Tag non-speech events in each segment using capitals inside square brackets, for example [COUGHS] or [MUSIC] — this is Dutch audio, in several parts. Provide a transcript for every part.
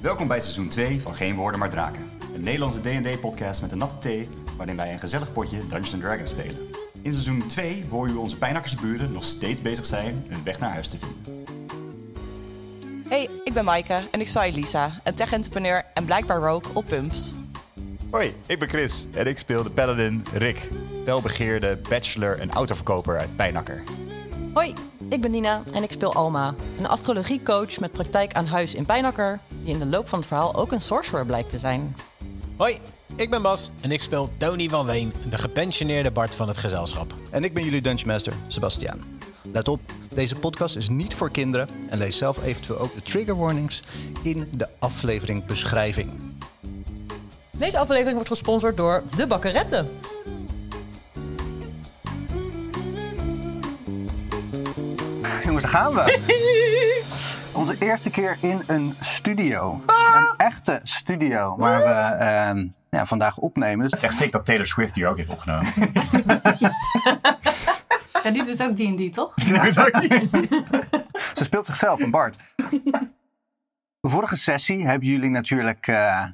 Welkom bij seizoen 2 van Geen Woorden Maar Draken. Een Nederlandse D&D-podcast met een natte thee... waarin wij een gezellig potje Dungeons Dragons spelen. In seizoen 2 hoor je hoe onze pijnakkersburen nog steeds bezig zijn... een weg naar huis te vinden. Hey, ik ben Maaike en ik speel Elisa, een tech-entrepreneur en blijkbaar rook op pumps. Hoi, ik ben Chris en ik speel de paladin Rick. Welbegeerde bachelor en autoverkoper uit Pijnakker. Hoi, ik ben Nina en ik speel Alma, een astrologiecoach met praktijk aan huis in Pijnakker, die in de loop van het verhaal ook een sorcerer blijkt te zijn. Hoi, ik ben Bas en ik speel Tony van Ween, de gepensioneerde Bart van het gezelschap. En ik ben jullie Dungeon Master, Sebastiaan. Let op, deze podcast is niet voor kinderen en lees zelf eventueel ook de trigger warnings in de aflevering beschrijving. Deze aflevering wordt gesponsord door De Bakkeretten. [LAUGHS] Jongens, daar gaan we. [LAUGHS] Onze eerste keer in een studio. Een echte studio waar we ehm, ja, vandaag opnemen. Dus Echt sick dat Taylor Swift hier ook heeft [LAUGHS] opgenomen. Ja, die dus ook D&D, toch? ze speelt zichzelf, een Bart. [LAUGHS] De vorige sessie hebben jullie natuurlijk eh,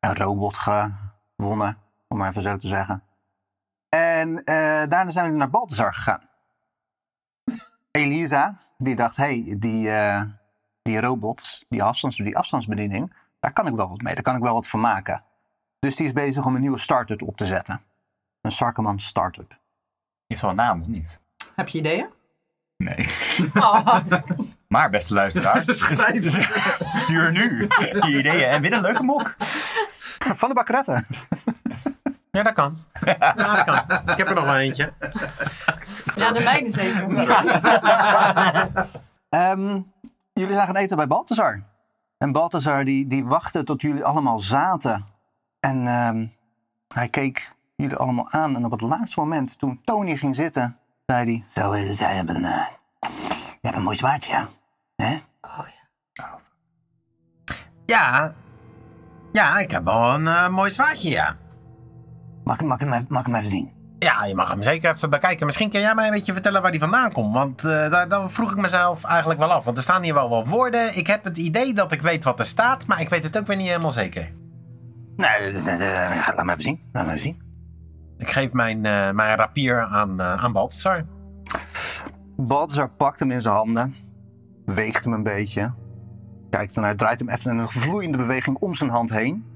een robot gewonnen, om maar even zo te zeggen. En eh, daarna zijn we naar Balthazar [LAUGHS] gegaan. Elisa, die dacht, hé, hey, die, eh, die robot, die, afstands, die afstandsbediening, daar kan ik wel wat mee, daar kan ik wel wat van maken. Dus die is bezig om een nieuwe start-up op te zetten. Een Sarkeman start-up. Heeft wel een naam of niet? Heb je ideeën? Oh. Nee. [LAUGHS] Maar beste [LAUGHS] luisteraars, [LAUGHS] stuur nu je ideeën en win een leuke mok. [LAUGHS] Van de bakkeretten. Ja, dat kan. Ja, dat kan. Ik heb er nog wel eentje. Ja, de mijne zeker. Ehm, jullie zijn gaan eten bij Balthazar. En Balthazar die, die wachtte tot jullie allemaal zaten. En ehm, hij keek jullie allemaal aan. En op het laatste moment, toen Tony ging zitten, zei hij... Zo, eh, zij hebben een, eh, je hebt een mooi zwaardje. hè? Ja. Ja, ik heb wel een eh, mooi zwaardje, ja. Mag, ik- mag, ik hem even- mag ik hem even zien? Ja, je mag hem zeker even bekijken. Misschien kan jij mij een beetje vertellen waar die vandaan komt. Want eh, daar, daar vroeg ik mezelf eigenlijk wel af. Want er staan hier wel wat woorden. Ik heb het idee dat ik weet wat er staat, maar ik weet het ook weer niet helemaal zeker. Nee, eh, eh, eh, laat hem even zien. Laat hem even zien. Ik geef mijn, eh, mijn rapier aan, eh aan Balthasar. Balthazar pakt hem in zijn handen. Weegt hem een beetje. Kijkt ernaar, draait hem even in een vloeiende beweging om zijn hand heen.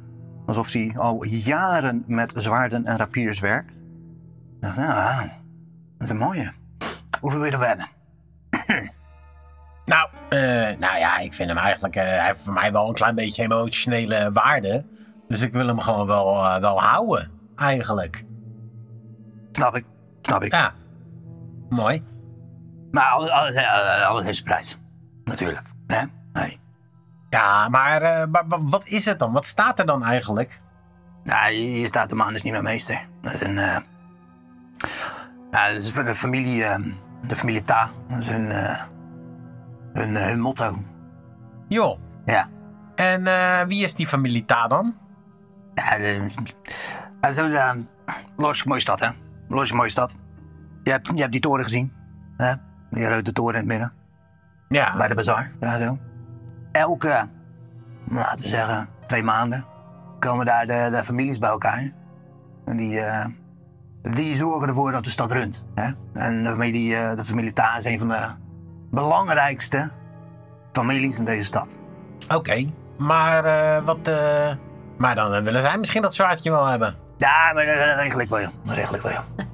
Alsof hij al jaren met zwaarden en rapiers werkt. Zegt, "Ah, dat is een mooie. Hoeveel wil je er hebben? Nou, eh, nou ja, ik vind hem eigenlijk... eh, hij heeft voor mij wel een klein beetje emotionele waarde. Dus ik wil hem gewoon wel, eh, wel houden, eigenlijk. Snap ik, snap ik. Ja. Mooi. Maar alles, alles, eh, alles heeft zijn prijs. Natuurlijk. Hè? Nee. Ja, maar, eh, maar wa- wat is het dan? Wat staat er dan eigenlijk? Nou, hier staat de man is niet mijn meester. Dat is een. eh, ja, dat is voor de familie. eh, de familie Ta. Dat is hun, eh, hun, eh, hun motto. Joh, Ja. en eh, wie is die familie Ta dan? Ja, eh, eh, zo, eh, Los, mooie stad, hè? Los, mooie stad. Je hebt, je hebt die toren gezien, hè? Die rode toren in het midden, Ja, bij de bazaar. Ja, zo. Elke, laten we zeggen, twee maanden komen daar de, de families bij elkaar. En die, eh, die zorgen ervoor dat de stad runt. Hè? En de familie, eh, de familie Ta is een van de belangrijkste families in deze stad. oké. Maar eh, wat... eh, maar dan eh, willen zij misschien dat zwaardje wel hebben. Ja, maar dat dat regel ik wel, joh. Dat regel ik wel, joh.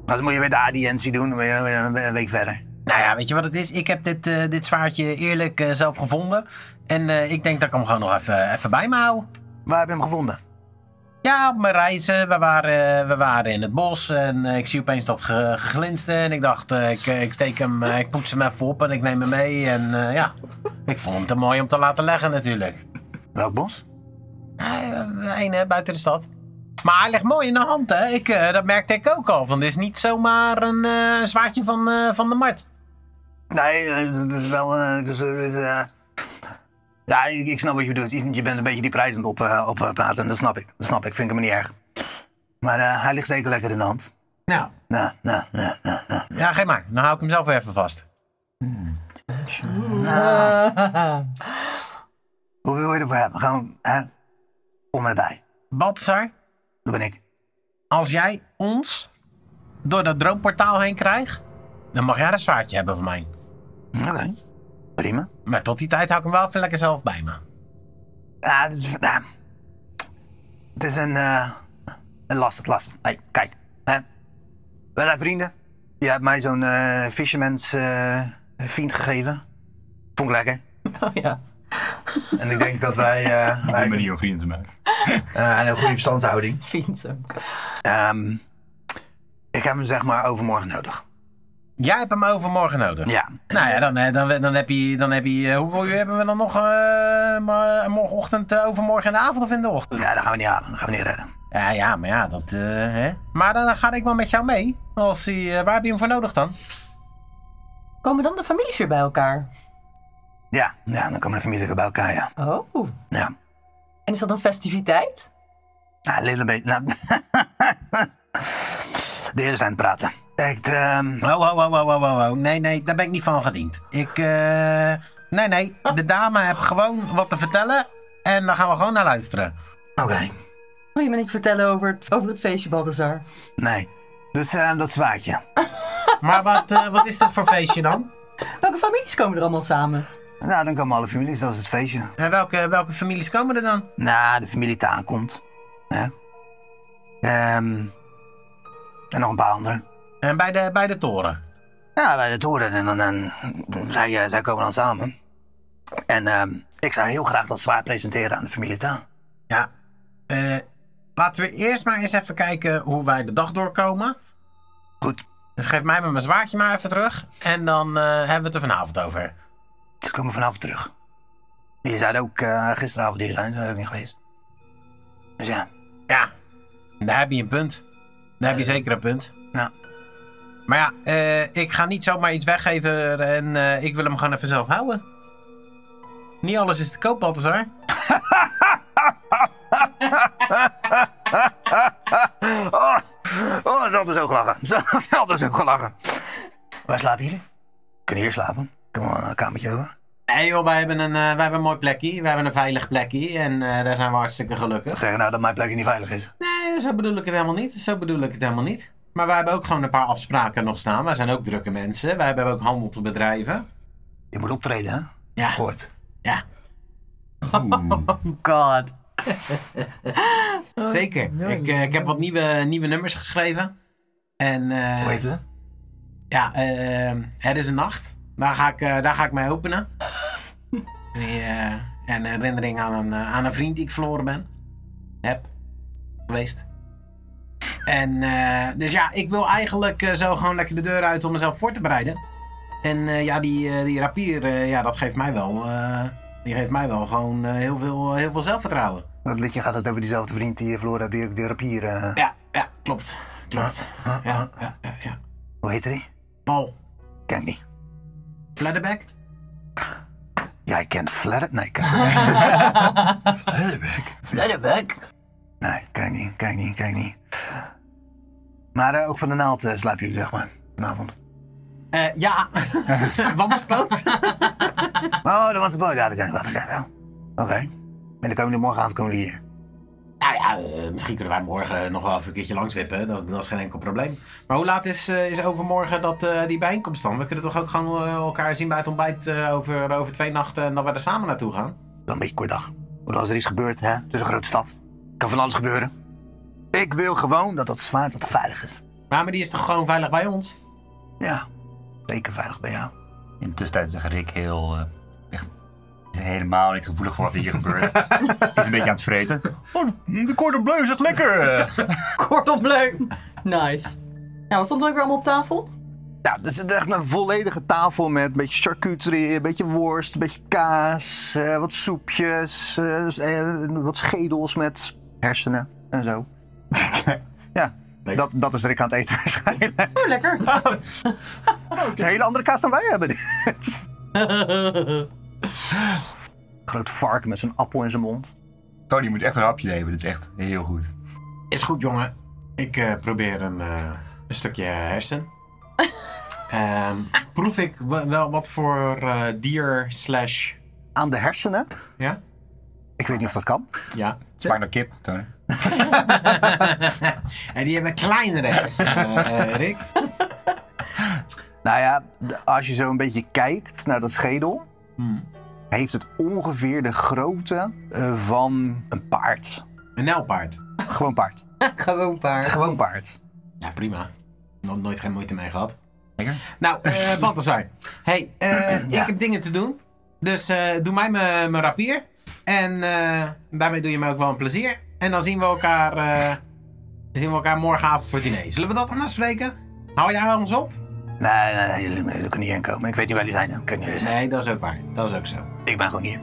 Anders moet je weer de adiëntie doen, dan ben je weer een week verder. Nou ja, weet je wat het is? Ik heb dit, eh, dit zwaardje eerlijk eh, zelf gevonden. En eh, ik denk dat ik hem gewoon nog even, even bij me hou. Waar heb je hem gevonden? Ja, op mijn reizen. We waren, we waren in het bos en eh, ik zie opeens dat ge- geglinster. En ik dacht, eh, ik, ik steek hem, eh, ik poets hem even op en ik neem hem mee. En eh, ja, ik vond hem te mooi om te laten leggen natuurlijk. Welk bos? Eh, Eén hè, buiten de stad. Maar hij ligt mooi in de hand, hè? Ik, eh, dat merkte ik ook al. Van, dit is niet zomaar een eh, een zwaardje van, eh, van de markt. Nee, eh, het is wel... eh, Het is, eh, het, eh, ja, ik, ik snap wat je bedoelt. Je je bent een beetje die prijs aan het op, eh, op, eh, praten. Dat snap ik. Dat snap ik. Vind ik hem niet erg. Maar eh, hij ligt zeker lekker in de hand. Nou, Nou, nou, nou, nou. ja, geef maar. Dan hou ik hem zelf weer even vast. Hoeveel wil je ervoor hebben? Gewoon, hè? Om en bij. Balthazar, Dat ben ik. als jij ons door dat droomportaal heen krijgt, dan mag jij dat zwaardje hebben van mij. Oké. Prima. Maar tot die tijd hou ik hem wel even lekker zelf bij me. Ja, Ah, het is, ja. het is een, eh, een lastig, lastig. Hey, kijk, hè. we zijn vrienden. Je hebt mij zo'n eh fisherman's eh, vriend gegeven. Vond ik lekker. [LAUGHS] Oh ja. En ik denk dat wij, [LAUGHS] eh wij Ik ben niet jouw vrienden te maken. eh, een goede verstandshouding. [LAUGHS] Vind ook. Ehm, ik heb hem zeg maar overmorgen nodig. Jij hebt hem overmorgen nodig. Ja. Nou ja, dan, eh, dan, dan heb je... Dan heb je eh, hoeveel uur hebben we dan nog? eh, maar morgenochtend, eh, overmorgen in de avond of in de ochtend? Ja, dat gaan we niet halen. Dat gaan we niet redden. Ja, ja, maar ja, dat... eh, hè? Maar dan ga ik wel met jou mee. Als hij, eh, waar heb je hem voor nodig dan? Komen dan de families weer bij elkaar? Ja, ja, dan komen de familie weer bij elkaar, ja. Oh. Ja. En is dat een festiviteit? Ja, een little bit. Nou, [LAUGHS] de heren zijn aan het praten. Kijk, ehm, Wow, wow, wow, wow, wow, wow. Nee, nee, daar ben ik niet van gediend. Ik, eh... Nee, nee, de dame heeft gewoon wat te vertellen. En daar gaan we gewoon naar luisteren. oké. Wil je me niet vertellen over het, over het feestje, Balthazar? Nee. Dus ehm, dat zwaardje. Maar wat, eh, wat is dat voor feestje dan? Welke families komen er allemaal samen? Nou, dan komen alle families, dat is het feestje. Nou, En welke, welke families komen er dan? de familie te aankomt. Hè? Ehm, en nog een paar anderen. En bij de, bij de toren. Ja, bij de toren. En dan, en, zij, eh, zij komen dan samen. En ehm, ik zou heel graag dat zwaard presenteren aan de familie Taan. Ja. eh, laten we eerst maar eens even kijken hoe wij de dag doorkomen. Goed, Dus geef mij maar mijn zwaardje maar even terug. En dan eh, hebben we het er vanavond over. dus komen vanavond terug. Je zou er ook eh, gisteravond hier zijn, dat is ook niet geweest. Dus ja. Ja. Daar heb je een punt. Daar heb je zeker een punt. Ja. Maar ja, eh, ik ga niet zomaar iets weggeven. En eh, ik wil hem gewoon even zelf houden. Niet alles is te koop, Balthazar. Oh, oh dat is ook lachen. [LAUGHS] Dat is ook gelachen. Waar slapen jullie? Kunnen hier slapen? Kom maar een kamertje over. Nee joh, wij hebben, een, eh, wij hebben een mooi plekje. Wij hebben een veilig plekje. En eh, daar zijn we hartstikke gelukkig. Zeggen nou dat mijn plekje niet veilig is. Nee, zo bedoel ik het helemaal niet. Zo bedoel ik het helemaal niet. Maar wij hebben ook gewoon een paar afspraken nog staan. Wij zijn ook drukke mensen. Wij hebben ook handel te bedrijven. Je moet optreden, hè? Ja. Hoort. Ja, [LAUGHS] God. zeker. Ik, eh, ik heb wat nieuwe, nieuwe nummers geschreven. En eh, Hoe heet ze? ja, eh, het is een nacht. Daar ga ik, eh, daar ga ik mee openen. Die, eh, en een herinnering aan een, eh, aan een vriend die ik verloren ben. Heb. Geweest. En eh, dus ja, ik wil eigenlijk eh, zo gewoon lekker de deur uit om mezelf voor te bereiden. En eh, ja, die, eh, die rapier, eh, ja, dat geeft mij wel. eh, die geeft mij wel gewoon eh, heel, veel, heel veel zelfvertrouwen. Dat liedje gaat het over diezelfde vriend die je verloren hebt, die ook de rapier. eh, Ja, ja, klopt. Klopt. huh, Ja, huh. ja, ja. ja. Hoe heet die? Paul, Ken ik niet. Fladderback? Jij kent Flatter? Nee, [LAUGHS] ken ik niet. Fladderback. Nee, ken ik niet, ken ik niet, ken ik niet. Maar eh, ook van de naald eh, slapen jullie, zeg maar, vanavond. Eh ja, wanspoot. Oh, dat was een boot. Ja, dat ken ik wel, dat ken ik wel. Oké. En dan komen jullie morgenavond komen jullie hier. nou ja, eh, misschien kunnen wij morgen nog wel even een keertje langswippen. Dat, dat is geen enkel probleem. Maar hoe laat is, eh, is overmorgen dat, eh, die bijeenkomst dan? We kunnen toch ook gewoon eh, elkaar zien bij het ontbijt eh, over, over twee nachten en dat we er samen naartoe gaan? Dan een beetje kort dag. Want als er iets gebeurt, hè? Het is een grote stad. Kan van alles gebeuren. Ik wil gewoon dat dat zwaard dat het veilig is. Maar, maar die is toch gewoon veilig bij ons? Ja, zeker veilig bij jou. In de tussentijd is Rick heel. eh, echt helemaal niet gevoelig voor wat hier gebeurt. [LAUGHS] is een beetje aan het vreten. Oh, de cordon bleu is echt lekker. eh. Cordon bleu. Nice. Nou, wat stond er ook weer allemaal op tafel? Ja, het is echt een volledige tafel met een beetje charcuterie, een beetje worst, een beetje kaas, eh, wat soepjes, eh, eh, wat schedels met hersenen en zo. [LAUGHS] ja, Nee. dat, dat is Rick aan het eten waarschijnlijk. Het [LAUGHS] Oh, [LAUGHS] lekker. is een hele andere kaas dan wij [LAUGHS] hebben dit. Groot varken met zo'n appel in zijn mond. [LAUGHS] Tony moet echt een hapje nemen. Dit is echt heel goed. Is goed, jongen. Ik eh, probeer een, eh, een stukje hersen. Ehm, proef ik wa- wel wat voor eh, dier slash... Aan de hersenen? Ja? Ik weet niet of dat kan. Ja. Smaakt naar kip, Tony. En die hebben kleinere hersenen, eh, eh, Rick. Nou ja, d- als je zo een beetje kijkt naar dat schedel, Hmm. heeft het ongeveer de grootte eh, van een paard. Een nijlpaard. Gewoon paard. [LAUGHS] Gewoon paard. Gewoon paard. Ja, prima. Nog nooit geen moeite mee gehad. Nou, [LAUGHS] eh Balthazar. hey, [CLEARS THROAT] eh, Ja. ik heb dingen te doen. Dus eh, doe mij mijn mijn rapier. En eh, daarmee doe je mij ook wel een plezier. En dan zien we elkaar, eh, dan zien we elkaar morgenavond voor diner. Zullen we dat dan afspreken? Hou jij ons op? Nee, nee, nee, jullie, jullie kunnen hierin komen. Ik weet niet waar jullie zijn. dan Kunnen jullie zijn. Nee, dat is ook waar. Dat is ook zo. Ik ben gewoon hier.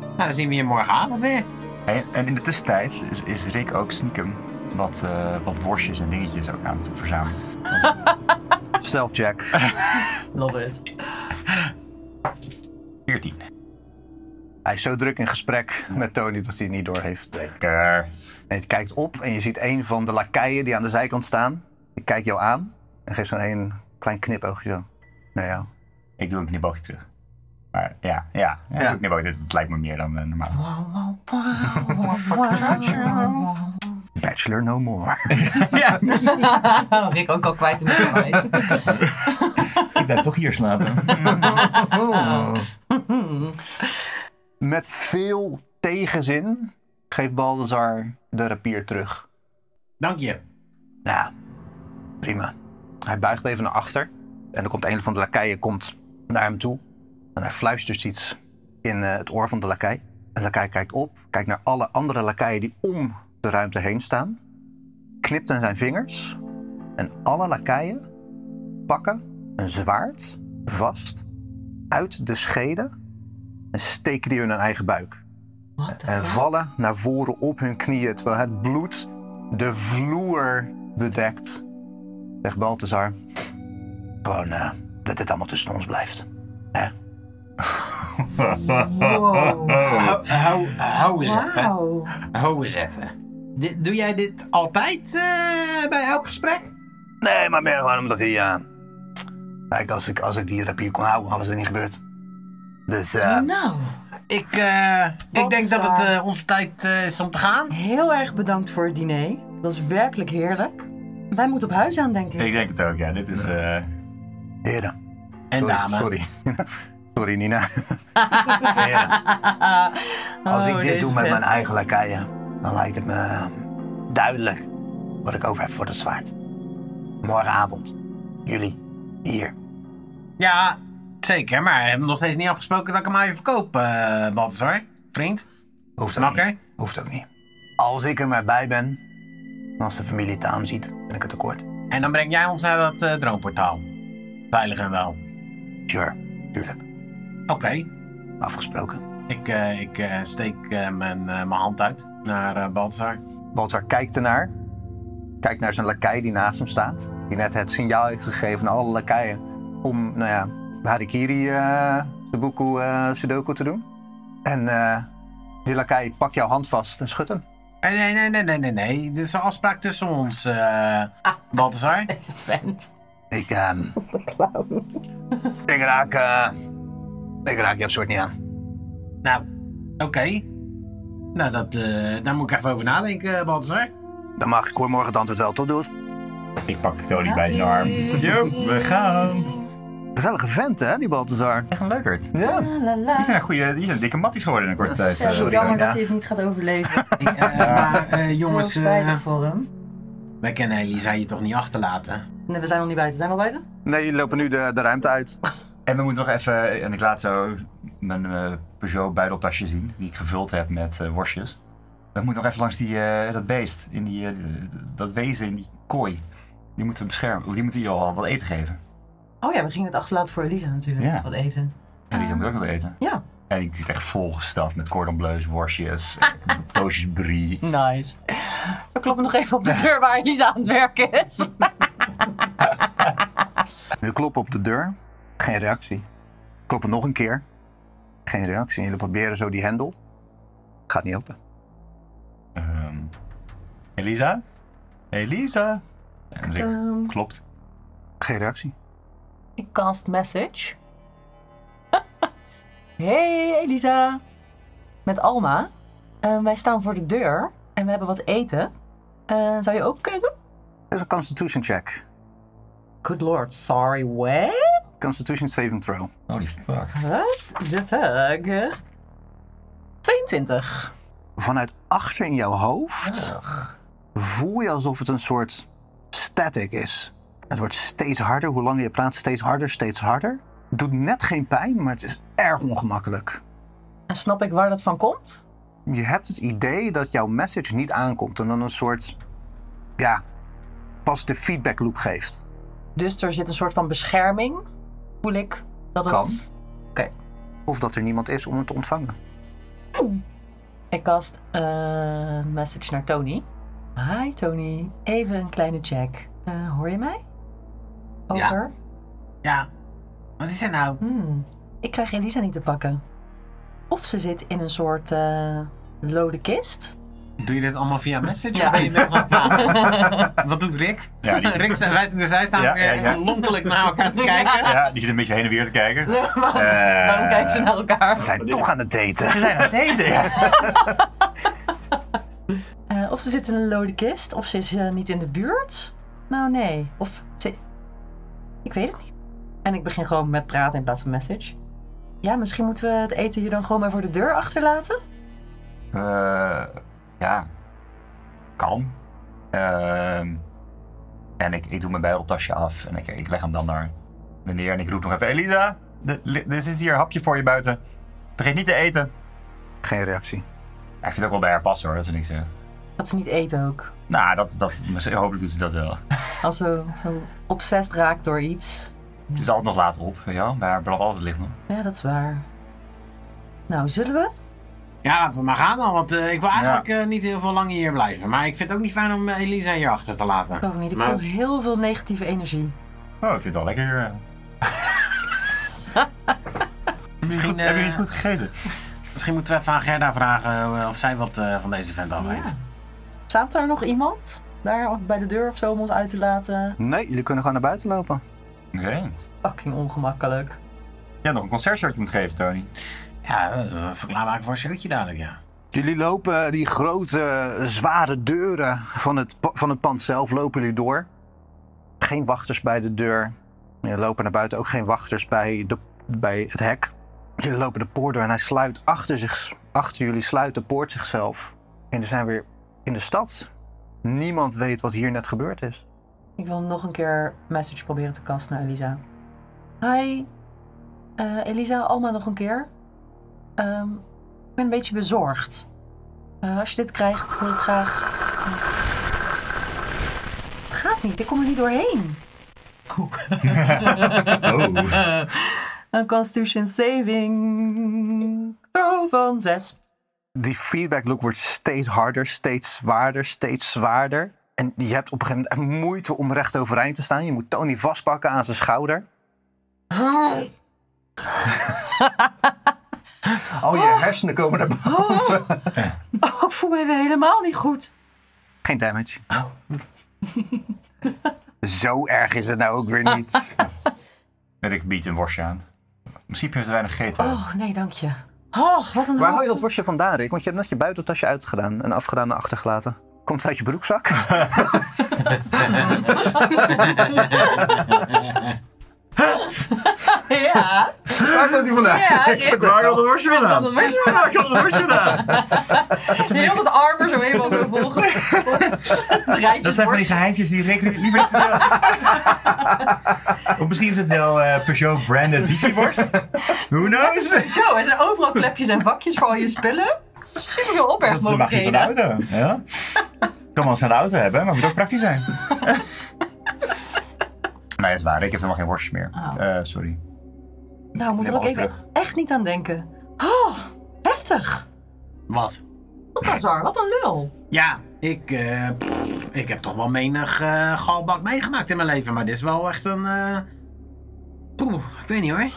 Nou, dan zien we je morgenavond weer. En, en in de tussentijd is, is Rick ook stiekem wat, eh, wat worstjes en dingetjes ook aan het verzamelen. Stealth check. [LAUGHS] Love it. 14. Hij is zo druk in gesprek met Tony dat hij het niet doorheeft. Lekker. En je kijkt op en je ziet een van de lakeien die aan de zijkant staan. Die kijkt jou aan en geeft zo'n een klein knipoogje zo. Nou ja. Ik doe een knipoogje terug. Maar ja, ja, ja, Ja. Een knipoogje, dat lijkt me meer dan eh, normaal. Bachelor no more. [LAUGHS] ja, Oh, Rick ook al kwijt in de [LAUGHS] kamer. Ik ben toch hier slapen. Met veel tegenzin geeft Balthazar de rapier terug. Dank je. Ja, prima. Hij buigt even naar achter. En dan komt een van de lakeien komt naar hem toe. En hij fluistert iets in eh, het oor van de lakij. En de lakij kijkt op, kijkt naar alle andere lakeien die om de ruimte heen staan. Knipt in zijn vingers. En alle lakeien pakken een zwaard vast uit de schede. En steken die in hun eigen buik. En vallen naar voren op hun knieën terwijl het bloed de vloer bedekt. Zegt Balthazar. Gewoon eh, dat dit allemaal tussen ons blijft. Hè? Hou, hou, hou eens even. Wauw. Hou eens even. Dit- doe jij dit altijd eh, bij elk gesprek? Nee, maar meer gewoon omdat hij. eh, Kijk, als ik, als ik die rapier kon houden, had het niet gebeurd. Dus eh, Nou, Ik, eh, ik Wat denk dat het zwaar. eh, onze tijd eh, is om te gaan. heel erg bedankt voor het diner. Dat is werkelijk heerlijk. Wij moeten op huis aan, denk ik. [LAUGHS] ik denk het ook, ja. Dit is... eh, heren. En eh, dame. sorry, Sorry. [LAUGHS] sorry, [LAUGHS] Nina. Heren, Oh, als ik dit doe met mijn eigen lakeien, dan lijkt het me duidelijk wat ik over heb voor dat zwaard. Morgenavond, jullie, hier. Ja, zeker. Maar we hebben nog steeds niet afgesproken dat ik hem aan je verkoop, eh Balthazar. Vriend. Hoeft ook Makker? niet. Hoeft ook niet. Als ik er maar bij ben, en als de familie het aanziet, ben ik het tekort. En dan breng jij ons naar dat eh, droomportaal. Veilig en wel. Sure, tuurlijk. Oké. Afgesproken. Ik, eh, ik eh, steek eh, mijn, eh, mijn hand uit naar eh Balthazar. Baltar kijkt ernaar. Kijkt naar zijn lakai die naast hem staat. Die net het signaal heeft gegeven aan alle lakaien om, nou ja, Harikiri eh Sudoku eh, Sudoku te doen. En eh, die lakai pakt jouw hand vast en schudt hem. Eh, Nee, nee, nee, nee, nee, nee. Dit is een afspraak tussen ons, eh Ah. [LAUGHS] Balthazar. Deze vent. Ik, ehm... ik raak, eh, ik raak jouw soort niet aan. Nou, oké. Nou, dat, eh, daar moet ik even over nadenken, Balthazar. Dan mag ik hoor morgen het antwoord wel, tot doet. ik pak Tony bij zijn arm. Yo, we gaan. Gezellige vent, hè, die Balthazar. Echt een leukert. Ja. La, la, la. Die zijn, goede, die zijn dikke matties geworden in een korte tijd. Zo eh, sorry, jammer Nina. Nou. dat hij het niet gaat overleven. Eh, maar eh, jongens, Zo eh, spijtig voor hem. wij kennen Elisa je toch niet achterlaten? Nee, we zijn nog niet buiten. Zijn we al buiten? Nee, jullie lopen nu de, de ruimte uit. En we moeten nog even, en ik laat zo mijn eh, Peugeot buideltasje zien, die ik gevuld heb met eh, worstjes. We moeten nog even langs die, eh, dat beest, in die, eh, dat wezen in die kooi. Die moeten we beschermen, die moeten jullie al wat eten geven. Oh ja, we gingen het achterlaten voor Elisa natuurlijk. Ja. Wat eten. En die gaan we ook wat eten. Ja. En ik zit echt volgestapt met cordon bleus, worstjes, eh, toosjes brie. Nice. We kloppen nog even op de deur waar Elisa aan het werken [LAUGHS] is. We kloppen op de deur. Geen reactie. Kloppen nog een keer. Geen reactie. En jullie proberen zo die hendel. Gaat niet open. Ehm, Elisa? Elisa? En Rick, Ehm, klopt. Geen reactie. Ik cast [LAUGHS] message. hey Elisa. Met Alma. Eh, wij staan voor de deur en we hebben wat eten. Eh, zou je open kunnen doen? Dat is een constitution check. Good lord, sorry, what? Constitution saving throw. Oh, die fuck. What the fuck? 22. Vanuit achter in jouw hoofd voel je alsof het een soort static is. Het wordt steeds harder, hoe langer je plaatst, steeds harder, steeds harder. Het doet net geen pijn, maar het is erg ongemakkelijk. En snap ik waar dat van komt? Je hebt het idee dat jouw message niet aankomt en dan een soort, ja, pas de feedback loop geeft. Dus er zit een soort van bescherming. Voel ik dat het... Kan. Oké. Of dat er niemand is om het te ontvangen. Ik cast een message naar Tony. Hi Tony, even een kleine check. Eh, hoor je mij? Over. Ja. Wat is er nou? Hmm, Ik krijg Elisa niet te pakken. Of ze zit in een soort eh, lode kist. Doe je dit allemaal via Messenger? Ja. Ben je [LAUGHS] inmiddels aan het praten? Wat doet Rick? Ja, die- [LAUGHS] Rick zijn, wij, zijn- dus wij staan Ja, weer ja, ja. lonkelijk naar elkaar te kijken. [LAUGHS] Ja, die zit een beetje heen en weer te kijken. [LAUGHS] waarom, Eh. waarom kijken ze naar elkaar? Ze zijn toch aan het daten. Ze zijn aan het eten. Ja. Eh, of ze zit in een lode kist, of ze is eh, niet in de buurt. Nou nee, of ze... Ik weet het niet. En ik begin gewoon met praten in plaats van message. Ja, misschien moeten we het eten hier dan gewoon maar voor de deur achterlaten? Eh, ja, kan. Ehm, en ik, ik doe mijn bijbeltasje af en ik, ik leg hem dan naar meneer en ik roep nog even... Elisa, de- li- er zit hier een hapje voor je buiten. Vergeet niet te eten. [LAUGHS] Geen reactie. Ja, ik vind het ook wel bij haar passen hoor, dat ze niks zegt. Dat ze niet eten ook. Nou, dat, dat, misschien- hopelijk doet ze dat wel. Als ze zo obsessed raakt door iets. Het is altijd nog laat op, weet je wel. Bij haar brandt altijd licht nog. Ja, dat is waar. Nou, zullen we? Ja, laten we maar gaan dan. Want eh, ik wil eigenlijk Ja. eh, niet heel veel langer hier blijven. Maar ik vind het ook niet fijn om eh, Elisa hier achter te laten. Ik ook niet. Ik Maar- voel heel veel negatieve energie. Oh, ik vind het wel lekker hier. Misschien, Goed, Hebben eh, jullie goed gegeten? Misschien moeten we even aan Gerda vragen eh, of zij wat eh, van deze vent al weet. Staat daar nog iemand? Daar bij de deur of zo om ons uit te laten? Nee, jullie kunnen gewoon naar buiten lopen. Oké. Fucking ongemakkelijk. Ja, nog een concertje dat je moet geven, Tony. Ja, eh, verklaar maar voor een showtje dadelijk, ja. Jullie lopen die grote, zware deuren van het, pa- van het pand zelf, lopen jullie door. Geen wachters bij de deur. Jullie lopen naar buiten, ook geen wachters bij, de, bij het hek. Jullie lopen de poort door en hij sluit achter, zich, achter jullie, sluit de poort zichzelf. En er zijn weer in de stad. Niemand weet wat hier net gebeurd is. Ik wil nog een keer message proberen te kasten naar Elisa. Hi. Eh, Elisa, Alma nog een keer. Ehm, ik ben een beetje bezorgd. Eh, als je dit krijgt, wil ik graag... Het gaat niet, ik kom er niet doorheen. Oh. Een Constitution saving throw van 6. Die feedback loop wordt steeds harder, steeds zwaarder, steeds zwaarder. En je hebt op een gegeven moment moeite om recht overeind te staan. Je moet Tony vastpakken aan zijn schouder. Al je hersenen komen naar boven. Oh, ik voel me weer helemaal niet goed. Geen damage. Oh. [LAUGHS] Zo erg is het nou ook weer niet. En ik bied een worstje aan. Misschien heb je te weinig gegeten. Oh, nee, dank je. Oh, wat een [LAUGHS] Waar haal hoop. je dat worstje vandaan, Rick? Want je hebt net je buitentasje uitgedaan en afgedaan en achtergelaten. Komt het uit je broekzak? Ja, Waar komt die vandaan? ja. Rick. Waar had het worstje vandaan? Dat werd je Waar had het worstje vandaan? heel [LAUGHS] dat armen zo helemaal zo [LAUGHS] volgestopt. Dat zijn van die geheimtjes die Rick niet meer [LAUGHS] vertellen. Of misschien is het wel eh, Peugeot branded biefjeworst. Who knows? Dat Zo, er zijn overal klepjes en vakjes voor al je spullen. Super veel is de magie van de opbergmogelijkheden. auto. Ja? Kan wel eens aan de auto hebben, maar moet ook praktisch zijn. Nee, dat is waar. Ik heb helemaal geen worstjes meer. Eh, sorry. Nou, we moeten er ook Neem even alles echt niet aan denken. Oh, heftig. Wat? Balthazar, wat een lul. Ja, ik, eh, pff, ik heb toch wel menig eh, galbak meegemaakt in mijn leven. Maar dit is wel echt een... eh, Poeh, ik weet niet hoor.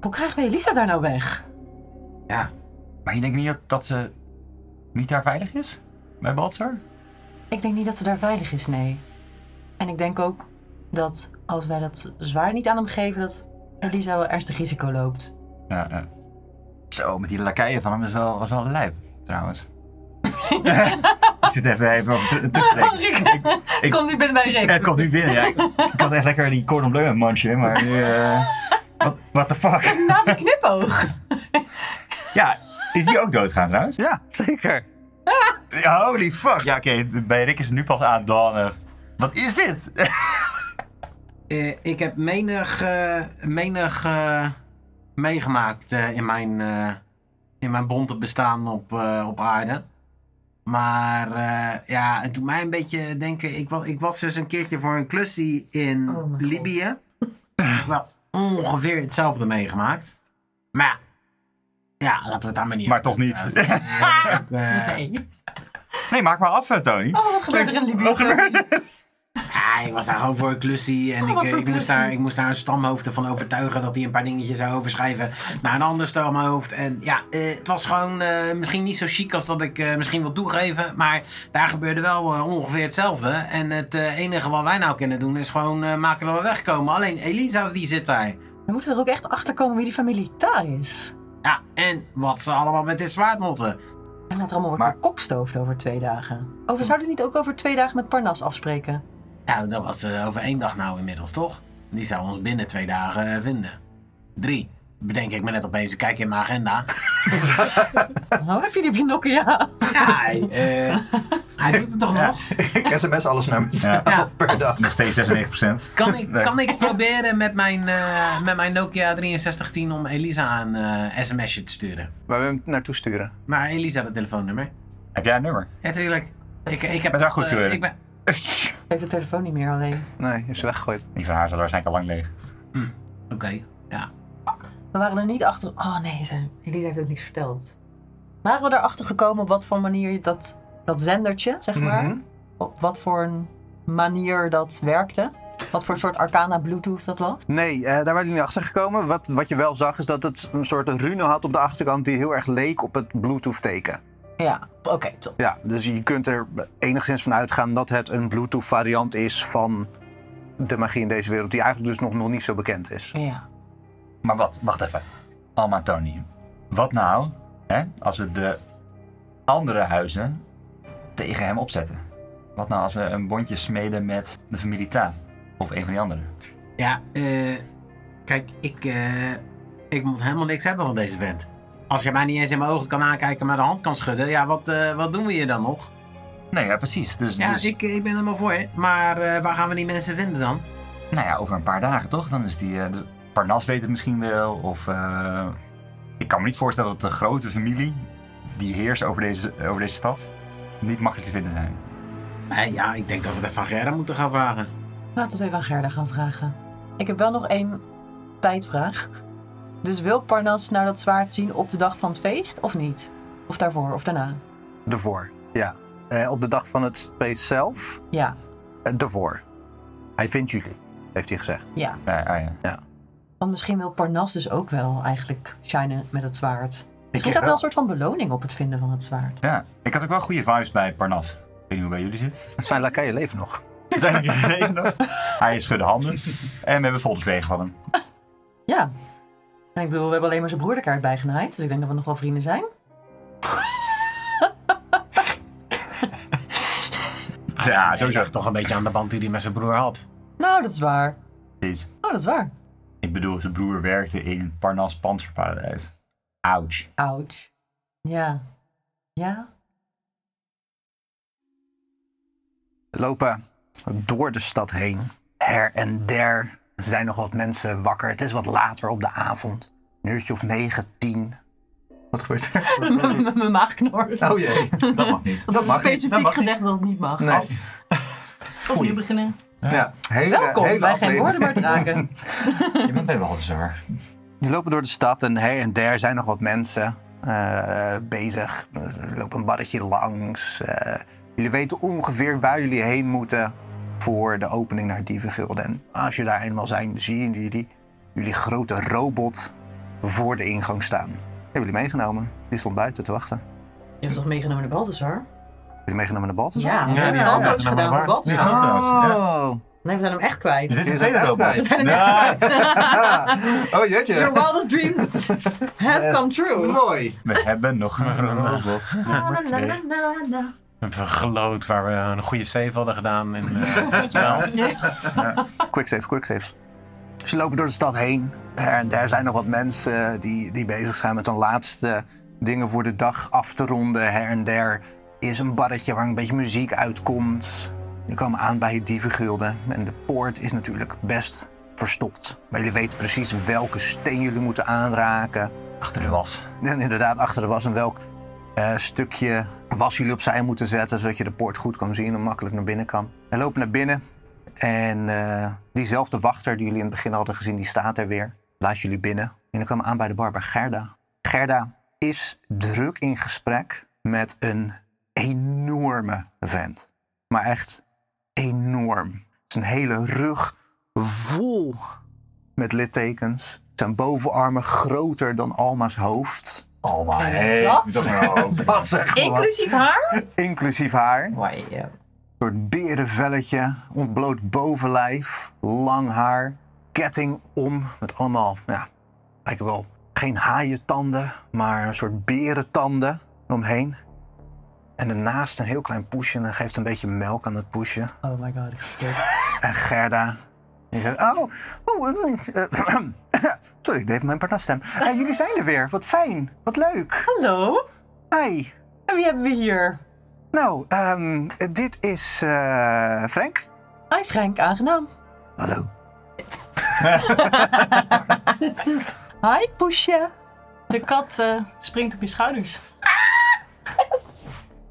Hoe krijgen we Elisa daar nou weg? Ja, Maar je denkt niet dat, dat ze niet daar veilig is? Bij Baltzar? Ik denk niet dat ze daar veilig is, nee. En ik denk ook dat als wij dat zwaar niet aan hem geven, dat Elisa wel ernstig risico loopt. Ja, ja. Zo, met die lakeien van hem is wel, was wel lijp. trouwens. [LAUGHS] ik zit even, even op te, te spreken. Ik- Komt Oh, nu binnen bij Rick. Ja, het komt nu binnen. Ja. Ik, ik was echt lekker die cordon bleu aan het munchen, maar nu... eh, wat what the fuck? Na die knipoog. Ja, is die ook doodgaan trouwens? Ja, zeker. Ja, holy fuck. Ja, oké, bij Rick is het nu pas aan dan. eh, wat is dit? Eh, ik heb menig, eh, menig eh, meegemaakt eh, in, mijn, eh in mijn bonte bestaan op, eh, op aarde. Maar eh, ja, het doet mij een beetje denken. Ik was, ik was dus een keertje voor een klusje in Oh mijn God. Libië. Wel ongeveer hetzelfde meegemaakt. Maar ja, ja, laten we het daar maar [LAUGHS] niet maar over toch niet. hebben. Ja, ook, eh, Nee. Nee, maak maar af, eh, Tony. Oh, wat gebeurt er in Libië? Wat gebeurt er? Ja, Ah, ik was daar gewoon voor een klusje en wat ik, voor ik, moest klusje? daar, ik moest daar een stamhoofd van overtuigen dat hij een paar dingetjes zou overschrijven naar een ander stamhoofd. En ja, eh, het was gewoon eh, misschien niet zo chic als dat ik eh, misschien wil toegeven, maar daar gebeurde wel eh, ongeveer hetzelfde. En het eh, enige wat wij nou kunnen doen is gewoon eh, maken dat we wegkomen. Alleen Elisa die zit daar. We moeten er ook echt achter komen wie die familie daar is. Ja, en wat ze allemaal met dit zwaard motten. En dat er allemaal Maar- wordt maar... bekokstoofd over twee dagen. Oh, we zouden niet ook over twee dagen met Parnas afspreken. [LAUGHS] Nou, dat was eh, over één dag nou inmiddels, toch? Die zou ons binnen twee dagen eh, vinden. Drie. Bedenk ik me net opeens, ik kijk in mijn agenda. Oh, heb je die binokken, ja. Ja, hij, eh, hij doet het toch nog? [LAUGHS] Ik sms alles naar mezelf Ja. [LAUGHS] per dag. Nog steeds 96%. Kan ik, Nee. kan ik proberen met mijn, eh, met mijn Nokia 6310 om Elisa een eh, sms'je te sturen? Waar we hem naartoe sturen. Maar Elisa dat telefoonnummer? Heb jij een nummer? Ja, tuurlijk. Ik, ik heb Met haar toch, eh, goedkeuring. ik ben- Heeft de telefoon niet meer alleen. Nee, is weggegooid. Die van haar zal waarschijnlijk al lang leeg. Oké, ja. We waren er niet achter. Oh nee, ze... Elina heeft ook niks verteld. Waren we erachter gekomen op wat voor manier dat, dat zendertje, zeg maar, Mhm. op wat voor een manier dat werkte? Wat voor soort arcana Bluetooth dat was? Nee, eh, daar waren we niet achter gekomen. Wat, wat je wel zag is dat het een soort rune had op de achterkant die heel erg leek op het Bluetooth-teken. Ja, oké, top. Ja, dus je kunt er enigszins van uitgaan dat het een Bluetooth-variant is van de magie in deze wereld, die eigenlijk dus nog, nog niet zo bekend is. Ja. Maar wat? Wacht even. Alma en Tony. Wat nou hè, als we de andere huizen tegen hem opzetten? Wat nou als we een bondje smeden met de familie Ta? Of een van die anderen? Ja, eh, kijk, ik, eh, ik moet helemaal niks hebben van deze vent. Als je mij niet eens in mijn ogen kan aankijken, maar de hand kan schudden, ja, wat, eh, wat doen we hier dan nog? Nee, ja, precies. Dus, Ja, dus ik, ik ben er maar voor, hè. maar eh, waar gaan we die mensen vinden dan? nou ja, over een paar dagen toch? Dan is die... eh, dus Parnas weet het misschien wel. Of... eh, ik kan me niet voorstellen dat de grote familie die heerst over deze, over deze stad niet makkelijk te vinden zijn. Eh, ja, ik denk dat we het even aan Gerda moeten gaan vragen. Laten we het even aan Gerda gaan vragen. Ik heb wel nog één tijdvraag. Dus wil Parnas nou dat zwaard zien op de dag van het feest of niet? Of daarvoor of daarna? Daarvoor, ja. Eh, op de dag van het feest zelf, Ja, eh, daarvoor. Hij vindt jullie, heeft hij gezegd. ja. Nee, ah ja. Want misschien wil Parnas dus ook wel eigenlijk shinen met het zwaard. Misschien denk staat er wel wel. een soort van beloning op het vinden van het zwaard. Ja, ik had ook wel goede vibes bij Parnas. Ik weet niet hoe bij jullie zit. Zijn lakaien leven nog. Zijn er geen reden nog? Hij schudde handen en we hebben folders wegen van hem. Ja. En ik bedoel, we hebben alleen maar zijn broederkaart bijgenaaid, dus ik denk dat we nog wel vrienden zijn. Ja, Nee, sowieso. ligt toch een beetje aan de band die hij met zijn broer had. Nou, dat is waar. Precies. Oh, dat is waar. Ik bedoel, zijn broer werkte in Parnas Panzerparadijs. Ouch. Ouch. Ja. Ja. [LAUGHS] [LAUGHS] We lopen door de stad heen. Her en der zijn nog wat mensen wakker. Het is wat later op de avond. Een uurtje of negen, tien. Wat gebeurt er? Met mijn maag knort. Oh jee. Dat mag niet. Dat is mag niet, dat specifiek mag gezegd dat het niet mag. Nee. Opnieuw beginnen. Ja, hele, Welkom hele bij Geen aflevering. Woorden Maar Draken. Je bent bij Walzar. Die lopen door de stad en her en der zijn nog wat mensen eh, bezig. Er loopt een barretje langs. Eh, jullie weten ongeveer waar jullie heen moeten voor de opening naar Dievengilden. En als je daar eenmaal zijn, zien jullie jullie grote robot voor de ingang staan. Die hebben jullie meegenomen. Die stond buiten te wachten. Hebben [LAUGHS] Je hebt toch meegenomen naar Balthazar? jullie meegenomen naar Baltus? Ja, we hebben ja, foto's ja. gedaan voor Ja. Balthazar. Ja. Oh. Nee, we zijn hem echt kwijt. Dit is een tweede robot. We zijn hem echt kwijt. Oh, jeetje. Your wildest [LAUGHS] dreams have Yes. come true. Mooi. We hebben nog een robot. Na, na, na, na, na. We hebben gelood waar we een goede save hadden gedaan in eh, het spel. Quick save, quick save. Ze lopen door de stad heen. En daar zijn nog wat mensen eh, die, die bezig zijn met hun laatste dingen voor de dag af te ronden. Her en der is een barretje waar een beetje muziek uitkomt. Nu komen aan bij het dievengilde. En de poort is natuurlijk best verstopt. Maar jullie weten precies welke steen jullie moeten aanraken. Achter de was. En inderdaad, achter de was en welk eh, stukje was jullie opzij moeten zetten. Zodat je de poort goed kan zien en makkelijk naar binnen kan. En lopen naar binnen. En eh, diezelfde wachter die jullie in het begin hadden gezien, die staat er weer. Laat jullie binnen. En dan komen we aan bij de barber Gerda. Gerda is druk in gesprek met een enorme vent. Maar echt enorm. Zijn hele rug vol met littekens. Zijn bovenarmen groter dan Alma's hoofd. Alma, hey, dat? doe maar open. Dat zeg Inclusief haar? Inclusief haar. Why, yeah. Een soort berenvelletje, ontbloot bovenlijf, lang haar, ketting om, met allemaal, ja, lijken wel geen haaientanden, maar een soort berentanden omheen. En daarnaast een heel klein poesje en hij geeft een beetje melk aan dat poesje. Oh my god, ik ga stuk. En Gerda, die zegt, oh, oh eh, eh, [CLEARS THROAT] sorry, ik deed mijn partnerstem. Eh, jullie zijn er weer, wat fijn, wat leuk. Hallo? Hi. En wie hebben we hier? Nou, ehm, dit is eh, Frank. Hi Frank, aangenaam. Hallo. Hi Poesje. De kat eh, springt op je schouders. Ah!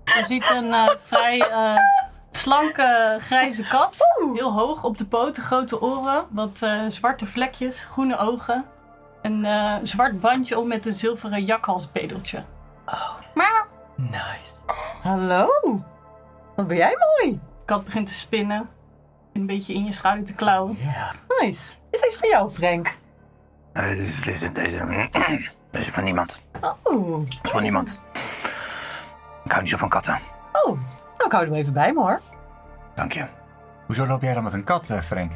Je ziet een eh, vrij eh, slanke grijze kat. Heel hoog op de poten, grote oren, wat eh, zwarte vlekjes, groene ogen. Een eh, zwart bandje om met een zilveren jakhalsbedeltje. Oh. Maar Nice. Hallo? Wat ben jij mooi? de kat begint te spinnen. Een beetje in je schouder te klauwen. Nice. Is deze van jou Frank? Eh, dit is- dit is- [CLEARS THROAT] deze, deze is van niemand. Oh. Dat is van niemand. Ik hou niet zo van katten. Oh. Nou, ik hou hem even bij me hoor. Dank je. [LAUGHS] Hoezo loop jij dan met een kat, eh, Frank?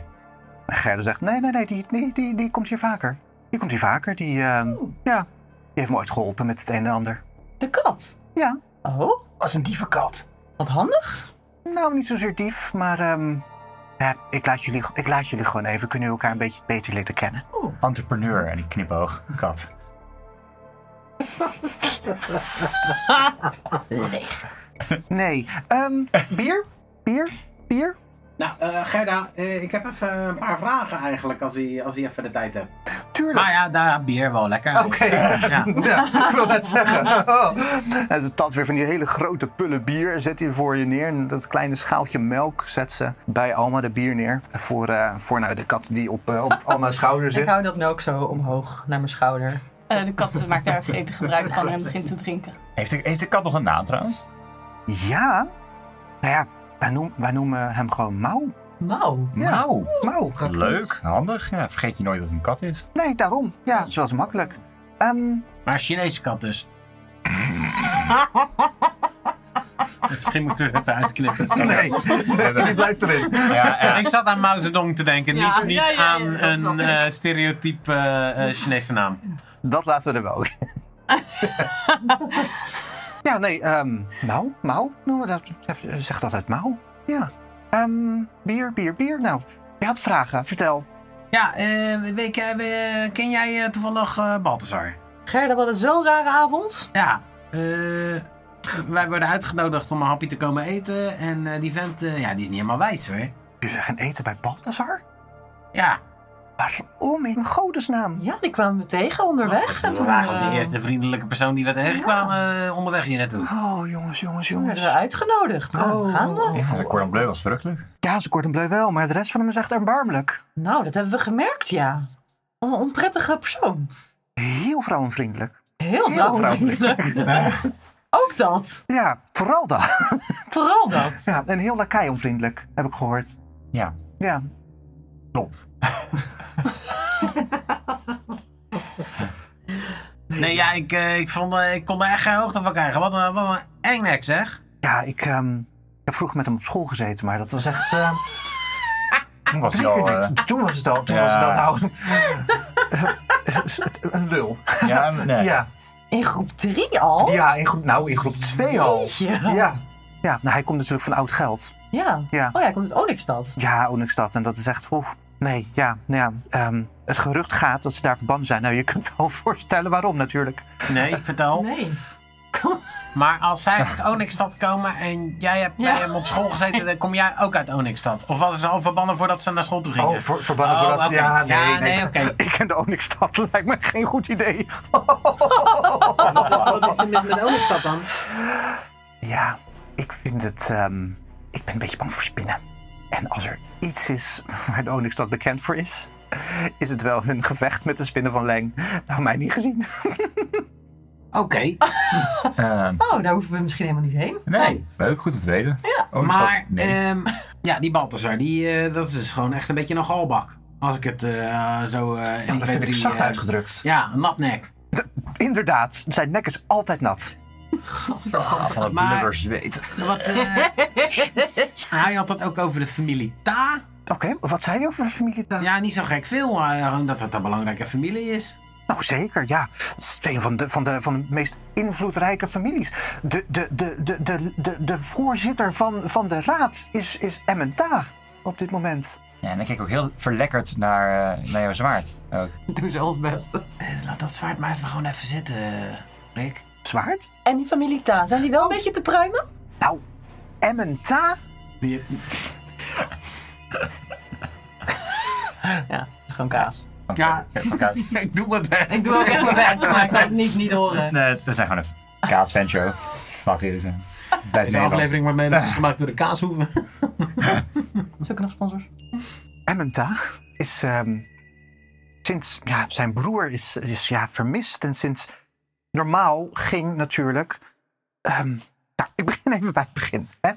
En Gerda zegt, nee, nee, nee, die, die, die, die komt hier vaker. Die komt hier vaker, die, ehm, ja, die heeft me ooit geholpen met het een en ander. De kat. Ja, Oh, Als een dievenkat. wat handig. nou, niet zozeer dief, maar ehm, ja, ik, laat jullie, ik laat jullie gewoon even. Kunnen jullie elkaar een beetje beter leren kennen? Entrepreneur en ik knipoog. Kat. Nee, ehm, bier? Bier? Bier? Nou, eh, Gerda, eh, ik heb even een paar vragen eigenlijk, als hij, als hij even de tijd hebt. Tuurlijk. Maar ja, daar bier wel lekker. Oké. Ja. ik wil net zeggen. [LAUGHS] Oh. En ze tapt weer van die hele grote pullen bier en zet die voor je neer. En dat kleine schaaltje melk zet ze bij Alma de bier neer. Voor, eh, voor nou, de kat die op, eh, op Alma's schouder Ik zit. hou dat nu ook zo omhoog naar mijn schouder. Eh, de kat maakt daar gretig gebruik van en begint te drinken. Heeft de, heeft de kat nog een naam trouwens? Ja. Nou ja, wij, noem- wij noemen hem gewoon Mau. Mauw. Ja. Nou, Mau. leuk. Handig. Ja, vergeet je nooit dat het een kat is. Nee, daarom. Ja, het was makkelijk. Ehm, Maar Chinese kat [LAUGHS] dus. Misschien moeten we het uitknippen. nee, [LAUGHS] die blijft erin. Ja, ja. Ik zat aan Mao Zedong te denken, Ja. niet, niet Ja, ja, ja, aan dat snap een ik. eh, stereotype eh, eh, Chinese naam. Dat laten we er [LAUGHS] wel. ja, nee, ehm Mau, Mau, noemen we dat, zeg dat uit Mau. Ja. Ehm, bier, bier, bier. Nou, je had vragen, vertel. Ja, eh, weet je, eh, ken jij eh, toevallig eh Balthazar? Gerda, wat een zo'n rare avond. Ja, eh, wij worden uitgenodigd om een hapje te komen eten. En eh, die vent, eh, ja, die is niet helemaal wijs hoor. Je zegt een eten bij Balthazar? Ja, Waarom in godesnaam? Ja, die kwamen we tegen onderweg. dat En was toen, eigenlijk eh, de eerste vriendelijke persoon die we tegenkwamen eh, onderweg hier naartoe. Oh, jongens, jongens, toen werden jongens. we uitgenodigd. Nou, Oh. gaan we. Ja, de cordon bleu was verrukkelijk. Ja, ze kort en bleu wel, maar de rest van hem is echt erbarmelijk. Nou, dat hebben we gemerkt, ja. Wat een onprettige persoon. Heel vrouwenvriendelijk. Heel vrouwvriendelijk. [LAUGHS] Ook dat. Ja, vooral dat. [LAUGHS] Vooral dat. Ja, en heel lakai-onvriendelijk, heb ik gehoord. Ja, Ja. klopt. Nee, ja, ik, eh, ik, vond, eh, ik kon er echt geen hoogte van krijgen. Wat een, wat een engnek zeg. Ja, ik, ehm, ik heb vroeger met hem op school gezeten, maar dat was echt. ehm, Toen was hij al... eh, eh, [LAUGHS] Toen was het al, toen Ja. was het al nou... een [LAUGHS] lul. Ja, nee. Ja. In groep 3 al? Ja, in groep, nou, in groep 2 al. Jeetje. Ja. Ja, nou, hij komt natuurlijk van oud geld. Ja. Ja. Oh ja, hij komt uit Onyxstad. Ja, Onyxstad. En dat is echt... Oeh, nee, ja, nou ja. ehm, het gerucht gaat dat ze daar verbannen zijn. Nou, je kunt wel [LAUGHS] voorstellen waarom natuurlijk. Nee, vertel. Nee. Maar als zij uit Onyxstad komen en jij hebt bij hem op school gezeten, dan kom jij ook uit Onyxstad. Of was ze al verbannen voordat ze naar school toe gingen? Oh, voor, verbannen Oh, voor dat... oké. Ja, nee, Ja, nee. nee, oké. Ik ken de Onyxstad. [LAUGHS] Lijkt me geen goed idee. Wat is, Oh, wat is er mis met Onyxstad dan? Ja, ik vind het... ehm, ik ben een beetje bang voor spinnen. En als er iets is waar de Onyxstad bekend voor is... is het wel hun gevecht met de spinnen van Leng. Nou, mij niet gezien. Oké, ehm, Oh, daar hoeven we misschien helemaal niet heen. [LAUGHS] nee, leuk, goed om te weten. Ja, maar Nee. ehm, ja, die Balthazar, die, eh, dat is dus gewoon echt een beetje een galbak. Als ik het eh, zo eh 1, 2, 3... zacht eh, uitgedrukt. Ja, een natnek. Inderdaad, zijn nek is altijd nat. van het maar- blubbers weten. Wat, eh, hij had het ook over de familie Ta. Oké, wat zei je over de familie dan? Ja, niet zo gek veel. eh, Gewoon dat het een belangrijke familie is. Nou zeker, ja. Het is een van de, van de, van de meest invloedrijke families. De, de, de, de, de, de, de voorzitter van, van de raad is, is Emmenta op dit moment. Ja, en dan kijk ik ook heel verlekkerd naar, eh, naar jouw zwaard. Ook. Doen ze ons best. Eh, Laat dat zwaard maar even gewoon even zitten, Rick. Zwaard? En die familie Ta, zijn die wel een beetje te pruimen? Nou, Emmenta? Ja, het is gewoon kaas. Ja. Van kaas. Ik doe mijn best. Ik doe ook echt mijn best, maar ik kan het niet, niet horen. Nee, het- eh, we zijn gewoon een kaasventure. Laat eerlijk zijn. dus, eh, Blijf Deze aflevering wordt [LAUGHS] mede gemaakt door de kaashoeven. Zoeken nog sponsors? Emmenta is ehm, sinds ja, zijn broer is, is ja, vermist en sinds normaal ging natuurlijk. ehm, nou, ik begin even bij het begin. Hè?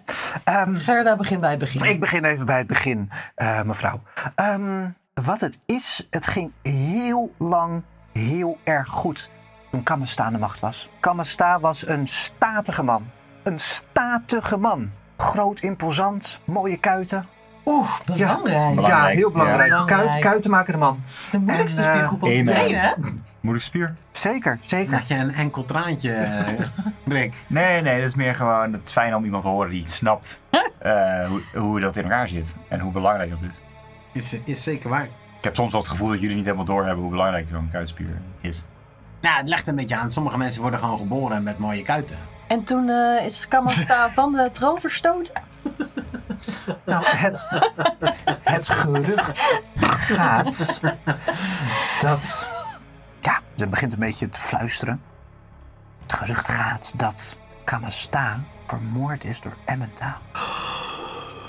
Ehm, Gerda, begin bij het begin. ik begin even bij het begin, eh, mevrouw. Ehm, wat het is, het ging heel lang heel erg goed toen Kamasta aan de macht was. Kamasta was een statige man. Een statige man. Groot, imposant, mooie kuiten. Oeh, Belangrijk. Ja, ja, heel belangrijk. Ja, belangrijk. Kuit, kuitenmakende man. Het is de moeilijkste En, eh, spiergroep om te amen. trainen, hè? Moederspier? Zeker, zeker. Laat je een enkel traantje, eh, Rick. Nee, nee, dat is meer gewoon het is fijn om iemand te horen die snapt eh, hoe, hoe dat in elkaar zit. En hoe belangrijk dat is. Is, is zeker waar. Ik heb soms wel het gevoel dat jullie niet helemaal doorhebben hoe belangrijk zo'n kuitspier is. Nou, het legt een beetje aan. Sommige mensen worden gewoon geboren met mooie kuiten. En toen eh, is [LAUGHS] Kamasta van de troon verstoten. Nou, het, het gerucht gaat dat... Ja, ze begint een beetje te fluisteren. Het gerucht gaat dat Kamasta vermoord is door Emmenta.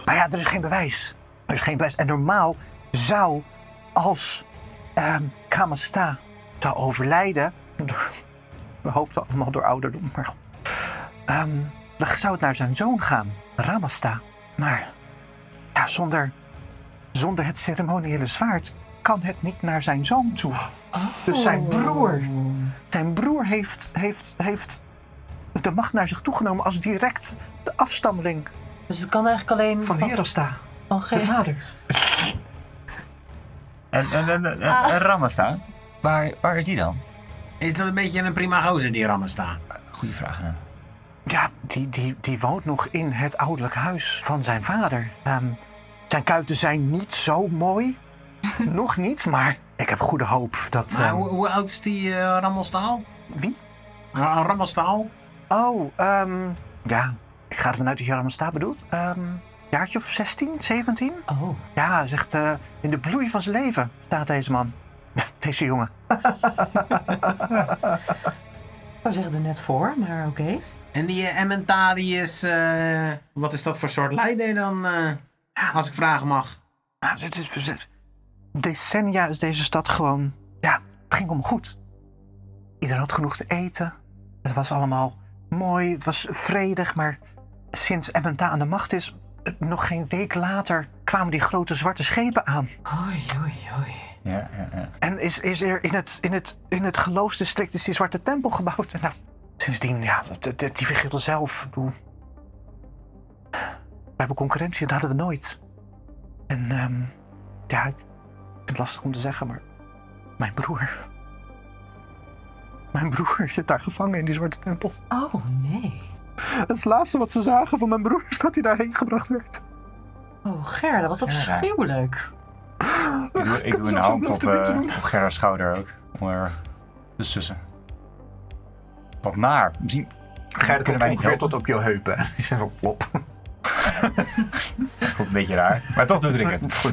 Maar ja, er is geen bewijs. Er is geen bewijs. En normaal zou, als ehm Kamasta zou overlijden... We hoopten allemaal door ouderdom, maar goed. Ehm, dan zou het naar zijn zoon gaan, Ramasta. Maar ja, zonder, zonder het ceremoniële zwaard kan het niet naar zijn zoon toe. Dus Oh. zijn broer, zijn broer heeft, heeft, heeft de macht naar zich toegenomen als direct de afstammeling Dus het kan eigenlijk alleen van Herasta, van de geen- vader. En, en, en, en, en Ramasta? Waar, waar is die dan? Is dat een beetje een prima gozer die rammen staan? Goeie vraag. hè. Ja, die, die, die woont nog in het ouderlijk huis van zijn vader. Ehm, zijn kuiten zijn niet [LAUGHS] zo mooi. nog niet, maar ik heb goede hoop dat... Maar ehm, Ah, hoe, hoe oud is die eh Rammelstaal? wie? Ra- Rammelstaal? Oh, ehm, ja. Ik ga ervan uit dat je Ramasta bedoelt. Ehm jaartje of 16, 17? Oh. Ja, zegt eh, in de bloei van zijn leven staat deze man. [LAUGHS] Deze jongen. Ik zou zeggen er net voor, maar oké. En die eh, Emmenta, die is... eh, wat is dat voor soort leider dan? eh, als ik vragen mag. Nou, dit is- dit is- decennia is deze stad gewoon. Ja, het ging om goed. Iedereen had genoeg te eten. Het was allemaal mooi, het was vredig, maar sinds Emmenta aan de macht is, eh, nog geen week later kwamen die grote zwarte schepen aan. Oei, oei, oei. Ja, ja, ja. En is, is er in het, in, het, in het geloofsdistrict is die zwarte tempel gebouwd. En nou, sindsdien, ja, de- de- die vergeet zelf. Ik bedoel, We hebben concurrentie, dat hadden we nooit. En ehm, Ja, ik vind het lastig om te zeggen, maar mijn broer. Mijn broer zit daar gevangen in die zwarte tempel. Oh nee. Dat is het laatste wat ze zagen van mijn broer, is dat hij daarheen gebracht werd. Oh Gerda, wat afschuwelijk. Ik doe, ik doe een zelfs hand opnieuw op, opnieuw te eh, doen. op Gerda's schouder ook. Om haar te sussen. Wat naar. Misschien Gerda kunnen komt wij niet ongeveer helpen. tot op je heupen. [LAUGHS] Ik zeg van plop. Voelt een beetje raar. Maar toch doet ik het. Goed.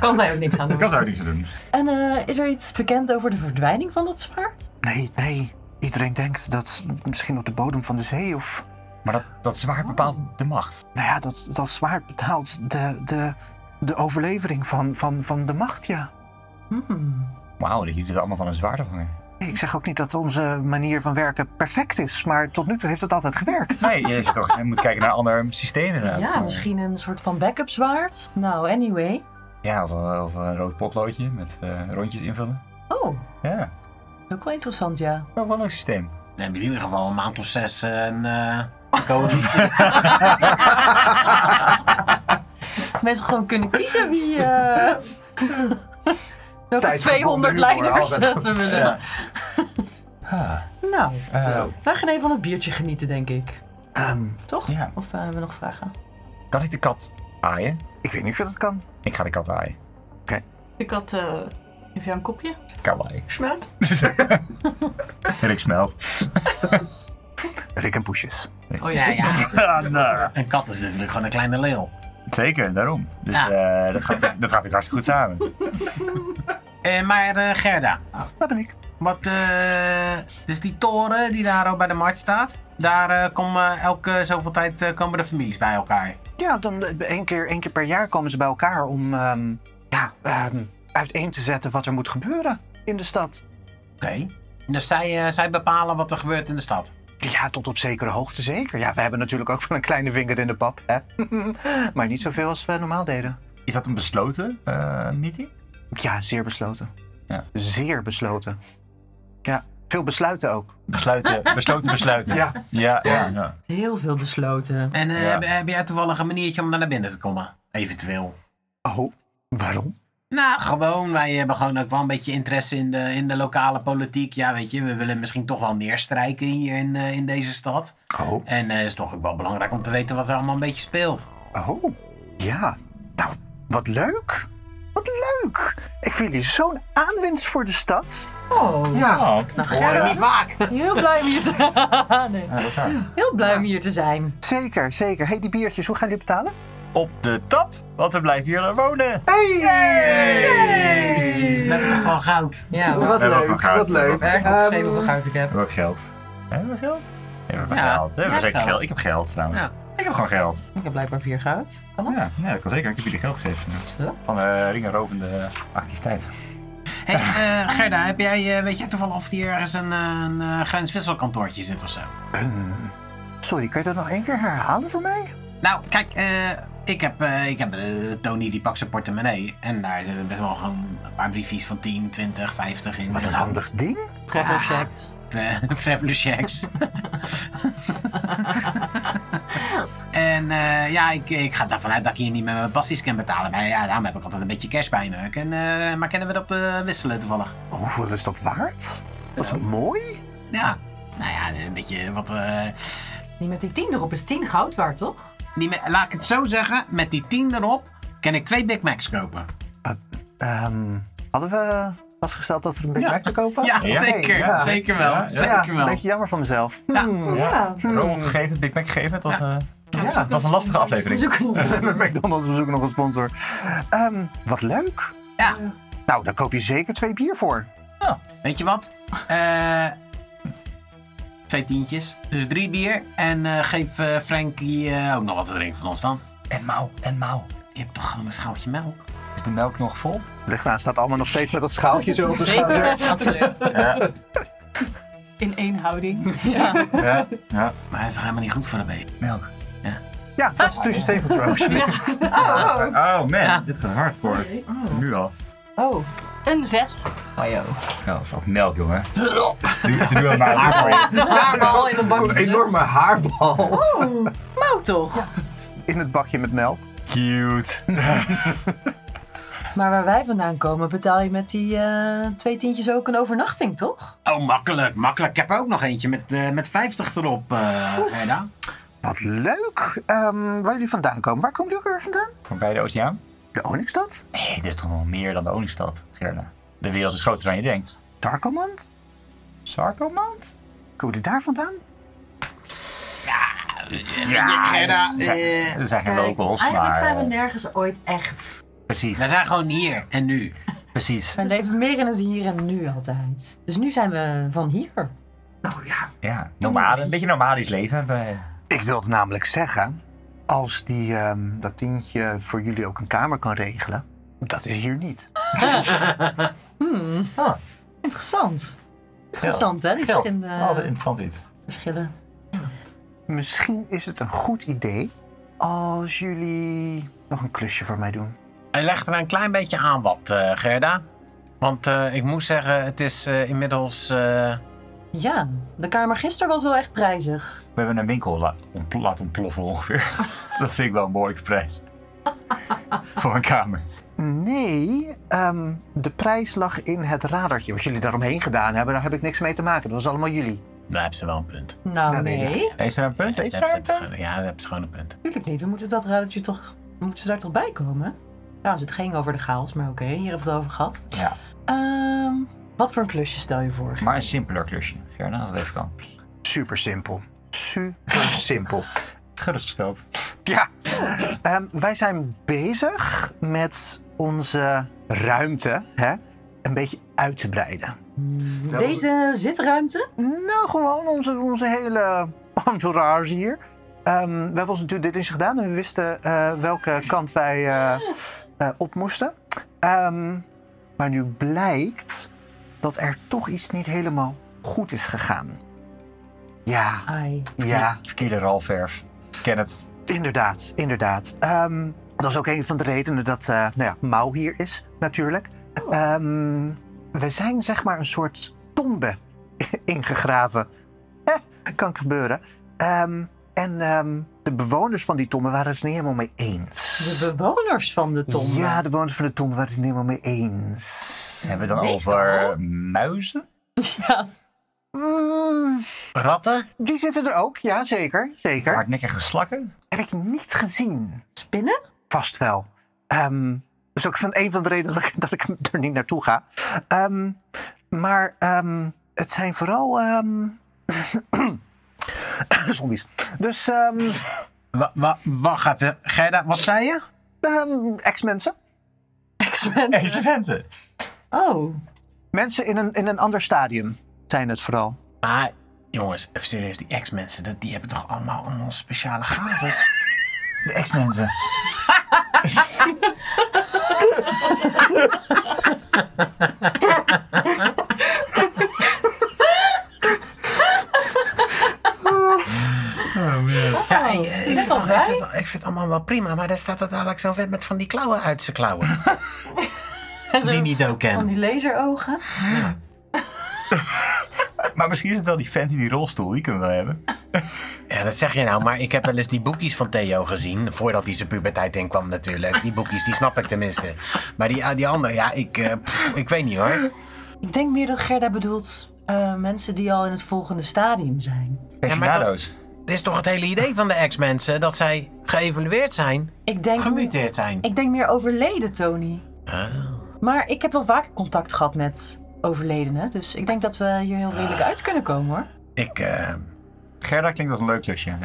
Kan zij ook [LAUGHS] niks aan Ik doen. kan daar niks aan doen. En eh, is er iets bekend over de verdwijning van dat zwaard? Nee, nee. Iedereen denkt dat ze misschien op de bodem van de zee of... Maar dat, dat zwaard bepaalt de macht. Nou ja, dat, dat zwaard betaalt de, de, de overlevering van, van, van de macht, ja. Wauw, dat jullie er allemaal van een zwaard afhangen. Ik zeg ook niet dat onze manier van werken perfect is, maar tot nu toe heeft het altijd gewerkt. Nee, je, zit toch, je moet kijken naar een ander systeem inderdaad. Ja, Maar- misschien een soort van backup zwaard. Nou, anyway. Ja, of, een- of een rood potloodje met eh, rondjes invullen. Oh, Ja, ook wel interessant, ja. dat is wel een leuk systeem. Dan hebben jullie in ieder geval een maand of zes eh, een eh code. [LAUGHS] Mensen gewoon kunnen kiezen wie... eh, [LAUGHS] welke 200 leiders ze willen. [LAUGHS] Ja. Nou, Eh, wij gaan even van het biertje genieten, denk ik. Ehm, Toch? Ja. Of eh, hebben we nog vragen? Kan ik de kat aaien? ik weet niet of je dat kan. Ik ga de kat aaien. Ik had. eh geef jou een kopje? Kawaii. Smelt? En ik smelt. [LAUGHS] Rick en Poesjes. Oh ja, ja. Ah, nou. Een kat is natuurlijk gewoon een kleine leeuw. Zeker, daarom. Dus Ja. eh, dat, gaat, dat gaat ook hartstikke goed samen. Eh, maar eh, Gerda, Dat ben ik. wat, eh, dus die toren die daar ook bij de markt staat, daar eh, komen elke zoveel tijd eh, komen de families bij elkaar. Ja, dan eh, één keer, één keer per jaar komen ze bij elkaar om ehm, ja, ehm, uiteen te zetten wat er moet gebeuren in de stad. Oké. Dus zij, eh, zij bepalen wat er gebeurt in de stad. Ja, tot op zekere hoogte zeker. Ja, we hebben natuurlijk ook wel een kleine vinger in de pap, hè. [LAUGHS] maar niet zoveel als we normaal deden. Is dat een besloten eh, meeting? Ja, zeer besloten. Ja. Zeer besloten. Ja, veel besluiten ook. Besluiten, [LAUGHS] besloten besluiten. Ja. Ja, ja. Heel veel besloten. En eh, Ja. heb, heb jij toevallig een maniertje om daar naar binnen te komen? Eventueel. Oh, waarom? Nou, gewoon. Wij hebben gewoon ook wel een beetje interesse in de, in de lokale politiek. Ja, weet je, we willen misschien toch wel neerstrijken hier in, eh, in deze stad. Oh, En eh, het is toch ook wel belangrijk om te weten wat er allemaal een beetje speelt. oh, ja. Nou, wat leuk. Wat leuk. Ik vind jullie zo'n aanwinst voor de stad. Oh, Ja. nou Gerda, vaak. heel blij om hier [LAUGHS] te, nee. dat is waar. heel blij om hier te zijn. Zeker, zeker. hey, die biertjes, hoe gaan jullie betalen? Op de tap, want we blijven hier wonen. Hey! We hebben toch gewoon goud. Ja, maar Wat We hebben ook leuk, nog goud. wat leuk. We hebben erg opgeschreven Ehm, hoeveel goud ik heb. Hebben we ook geld? Hebben we geld? Hebben we Ja, geld? Hebben jij we hebt zeker geld. geld? Ik heb geld trouwens. Ja. Ik heb gewoon geld. Ik heb blijkbaar vier goud. Kan dat? Ja, ja, dat kan zeker. Ik heb jullie geld gegeven. ja. Zo. Van eh ringenrovende activiteit. Hey, eh, Gerda, heb jij, eh, weet jij toevallig of hier ergens een, eh, een eh, grenswisselkantoortje zit of zo? Sorry, kan je dat nog één keer herhalen voor mij? Nou, kijk, eh, ik heb, eh, ik heb eh, Tony die pakt zijn portemonnee. En daar zitten best wel gewoon een paar briefjes van 10, 20, 50 in. Wat een handig ding. Travel checks. Tra- [LAUGHS] Traveler checks. en eh, ja, ik, ik ga ervan uit dat ik hier niet met mijn passies kan betalen. Maar ja, daarom heb ik altijd een beetje cash bij me. En, eh, maar kunnen we dat eh, wisselen toevallig? Hoeveel is dat waard? Wat mooi. Ja. Nou ja, een beetje wat eh, we... Die met die tien erop is tien goud waard, toch? die me- laat ik het zo zeggen, met die 10 erop kan ik twee Big Macs kopen. Ehm, hadden we vastgesteld dat er een Big Ja. Mac te kopen was? Ja, Hey, zeker. ja. Zeker wel. Ja, ja. Ja, Zeker een wel. beetje jammer van mezelf. Ja. Hmm. Ja. Robot gegeven, Big Mac gegeven. Het was, eh, Ja. [LAUGHS] het was een lastige aflevering. McDonald's, we zoeken nog een sponsor. Ehm, wat leuk. Ja. Nou, daar koop je zeker twee bier voor. Weet je wat? Eh, twee tientjes. Dus drie bier. En eh, geef eh, Frankie eh, ook nog wat te drinken van ons dan. En mouw, en mouw. Je hebt toch gewoon een schaaltje melk? Is de melk nog vol? Ligt aan, staat allemaal nog steeds met dat schaaltje zo op de schouder. Absoluut. [LAUGHS] In één houding. Ja. ja. Maar het is toch helemaal niet goed voor de baby? Melk. Ja, dat is tussen Stable Throws. Oh man, dit gaat hard voor. Nu al. Oh. Een zes. Ja, fuck melk, [LAUGHS] jongen. Ze ze doen het maar aan voor je. Haarbal in een Een enorme haarbal bouw Oh, toch? in het bakje met melk. Cute. Maar waar wij vandaan komen betaal je met die eh, twee tientjes ook een overnachting, toch? Oh, makkelijk, makkelijk. Ik heb er ook nog eentje met, eh, met 50 erop, eh Gerda. Wat leuk. Ehm, waar jullie vandaan komen. Waar komen jullie ook weer vandaan? Voorbij de oceaan? De Onyxstad? Nee, dit is toch wel meer dan de Oningstad, Gerda. De wereld is groter dan je denkt. Tarkomand? Sarkomand? Komen jullie daar vandaan? Ja, Gerda, we zijn- eh, dus- we zijn geen locals, Eigenlijk maar... zijn we eh, nergens ooit echt. Precies, We zijn gewoon hier en nu. precies. We leven meer in het hier en nu altijd. Dus nu zijn we van hier. Ja, nomaden. Een beetje nomadisch leven hebben wij. Ik wilde namelijk zeggen, als die, ehm, dat tientje voor jullie ook een kamer kan regelen, dat is hier niet. Hmm. Interessant. Interessant, hè? Die Geld. verschillende Altijd interessant iets. verschillen. Misschien is het een goed idee als jullie nog een klusje voor mij doen. Hij legt er een klein beetje aan wat, eh, Gerda. Want eh, ik moet zeggen, het is eh, inmiddels... eh, Ja, de kamer gisteren was wel echt prijzig. We hebben een winkel la- ont- laten ontploffen ongeveer. [LAUGHS] dat vind ik wel een behoorlijke prijs. Voor een kamer. Nee, ehm, de prijs lag in het radartje wat jullie daaromheen gedaan hebben. Daar heb ik niks mee te maken. Dat was allemaal jullie. daar hebben ze wel een punt. Nou, Ja, nee, nee. Heeft ze daar een punt? Ja, Heeft ze daar daar een hebben ze punt? gewoon- ja, daar hebben ze gewoon een punt. Natuurlijk niet. We moeten dat radertje toch. we moeten ze daar toch bij komen? Trouwens, het ging over de chaos, maar oké, hier hebben we het over gehad. Ja. Ehm, wat voor een klusje stel je voor? Maar een simpeler klusje, Gerda, als dat even kan. Super simpel. Super simpel. Gerustgesteld. [LAUGHS] Ja. Ehm, wij zijn bezig met onze ruimte hè, een beetje uit te breiden. Deze zitruimte? Nou, gewoon onze, onze hele entourage hier. Ehm, we hebben ons natuurlijk dit eens gedaan en we wisten eh, welke kant wij eh, eh, op moesten. Ehm, maar nu blijkt dat er toch iets niet helemaal goed is gegaan. Ja, Ai. ja. Verkeerde ralverf. Ik Ken het. Inderdaad, inderdaad. Ehm, dat is ook een van de redenen dat eh nou ja, Mau hier is, natuurlijk. Ehm, we zijn zeg maar een soort tombe [LAUGHS] ingegraven. Eh, kan gebeuren. Ehm, en ehm, de bewoners van die tombe waren het niet helemaal mee eens. De bewoners van de tombe. Ja, de bewoners van de tombe waren het niet helemaal mee eens. Hebben we het dan Meestal. over muizen? Mm, Ratten? die zitten er ook, ja, zeker. zeker. Hardnekkige slakken? Heb ik niet gezien. Spinnen? Vast wel. Ehm, dat is ook van een van de redenen [LAUGHS] dat ik, dat ik er niet naartoe ga. Ehm, maar ehm, het zijn vooral ehm, [COUGHS] zombies. Dus ehm, Wa- wa- wacht even, Gerda, wat zei je? ehm, ex-mensen. X-Men. Deze mensen. Oh, Mensen in een, in een ander stadium zijn het vooral. Maar, jongens, even serieus, die ex-mensen, dat- die hebben toch allemaal allemaal speciale gaves? [LAUGHS] De ex-mensen. Ja, hey, eh, ik, vind, Oh, al ik bij. vind het- ik vind het allemaal wel prima, maar daar staat er dadelijk zo'n vet met van die klauwen uit [LAUGHS] zijn klauwen. die Nido van ken. die laserogen. Maar misschien is het wel die vent in die rolstoel. Die kunnen we wel hebben. Ja, dat zeg je nou, maar ik heb wel eens die boekjes van Theo gezien. Voordat hij zijn puberteit in kwam natuurlijk. Die boekjes, die snap ik tenminste. Maar die, ah, die andere, ja, ik, eh, pff, ik weet niet hoor. Ik denk meer dat Gerda bedoelt eh, mensen die al in het volgende stadium zijn. Pensionado's. Dit is toch het hele idee van de ex-mensen, dat zij geëvalueerd zijn, Ik denk, gemuteerd zijn. ik denk meer overleden, Tony. Ah. Maar ik heb wel vaker contact gehad met overledenen. Dus ik denk dat we hier heel Ah. redelijk uit kunnen komen hoor. Ik, eh, Gerda klinkt als een leuk klusje.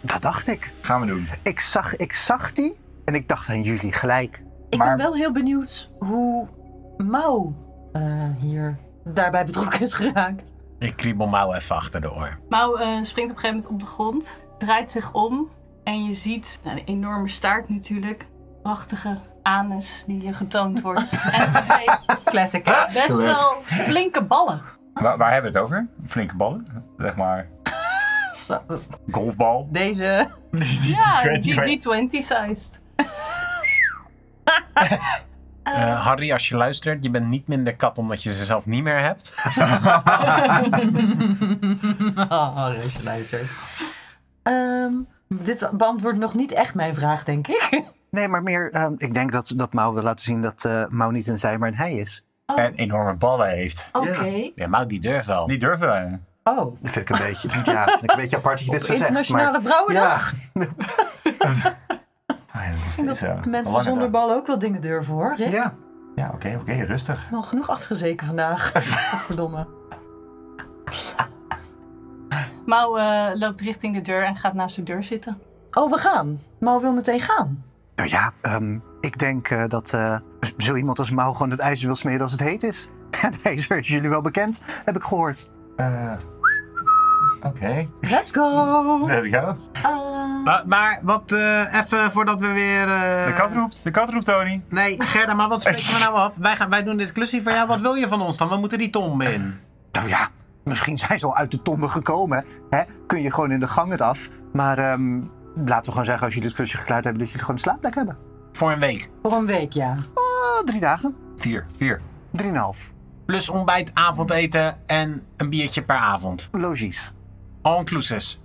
Dat dacht ik. Gaan we doen. Ik zag, ik zag die en ik dacht aan jullie gelijk. Ik Maar- ben wel heel benieuwd hoe Mau eh, hier daarbij betrokken is geraakt. ik kriebel mouw even achter de oor. Mouw eh, springt op een gegeven moment op de grond, draait zich om en je ziet nou, een enorme staart natuurlijk. Prachtige anus die je getoond wordt. en twee Classic. Ah. hè? best wel flinke ballen. Waar, waar hebben we het over? Flinke ballen? Zeg maar Zo, golfbal. deze. [LAUGHS] Ja, weet niet die, waar- die 20 sized. Eh, Harry, als je luistert, je bent niet minder kat omdat je ze zelf niet meer hebt. Oh, Roosje luistert. Ehm, dit beantwoordt nog niet echt mijn vraag, denk ik. [LAUGHS] Nee, maar meer, ehm, ik denk dat, dat Mouw wil laten zien dat eh Mouw niet een zij, maar een hij is. Oh. En enorme ballen heeft. Oké. Okay. Ja, Mout die durft wel. Die durven wij. Oh. Dat vind ik een beetje, [LAUGHS] ja, vind ik een beetje apart dat je dit zo zegt. Internationale maar- Ah, Vrouwendag. dat is Ik denk steeds, eh, dat mensen langer zonder dan. bal ook wel dingen durven hoor, Rick. Ja. Ja, oké, oké, rustig. Wel genoeg afgezeken vandaag. [LAUGHS] Godverdomme. Mau eh, loopt richting de deur en gaat naast de deur zitten. Oh, we gaan. Mau wil meteen gaan. Nou ja, ehm, ik denk eh, dat eh, zo iemand als Mouw gewoon het ijzer wil smeren als het heet is. [LAUGHS] En ijzer is jullie wel bekend, heb ik gehoord. Eh, oké, Let's go! let's go. Ah. Maar, maar wat, eh, even voordat we weer... eh, De kat roept, de kat roept Tony. Nee, Gerda, maar [LAUGHS] wat spreken we nou af? Wij, gaan, wij doen dit klusje voor jou. Wat wil je van ons dan? We moeten die tom in. Nou ja, misschien zijn ze al uit de tombe gekomen. Hè? Kun je gewoon in de gang het af. Maar ehm, laten we gewoon zeggen, als jullie het kusje geklaard hebben, dat jullie gewoon een slaapplek hebben. Voor een week. Voor een week, ja. Oh, drie dagen. Vier, vier. Drieënhalf. Plus ontbijt, avondeten en een biertje per avond. Logies. All inclusives.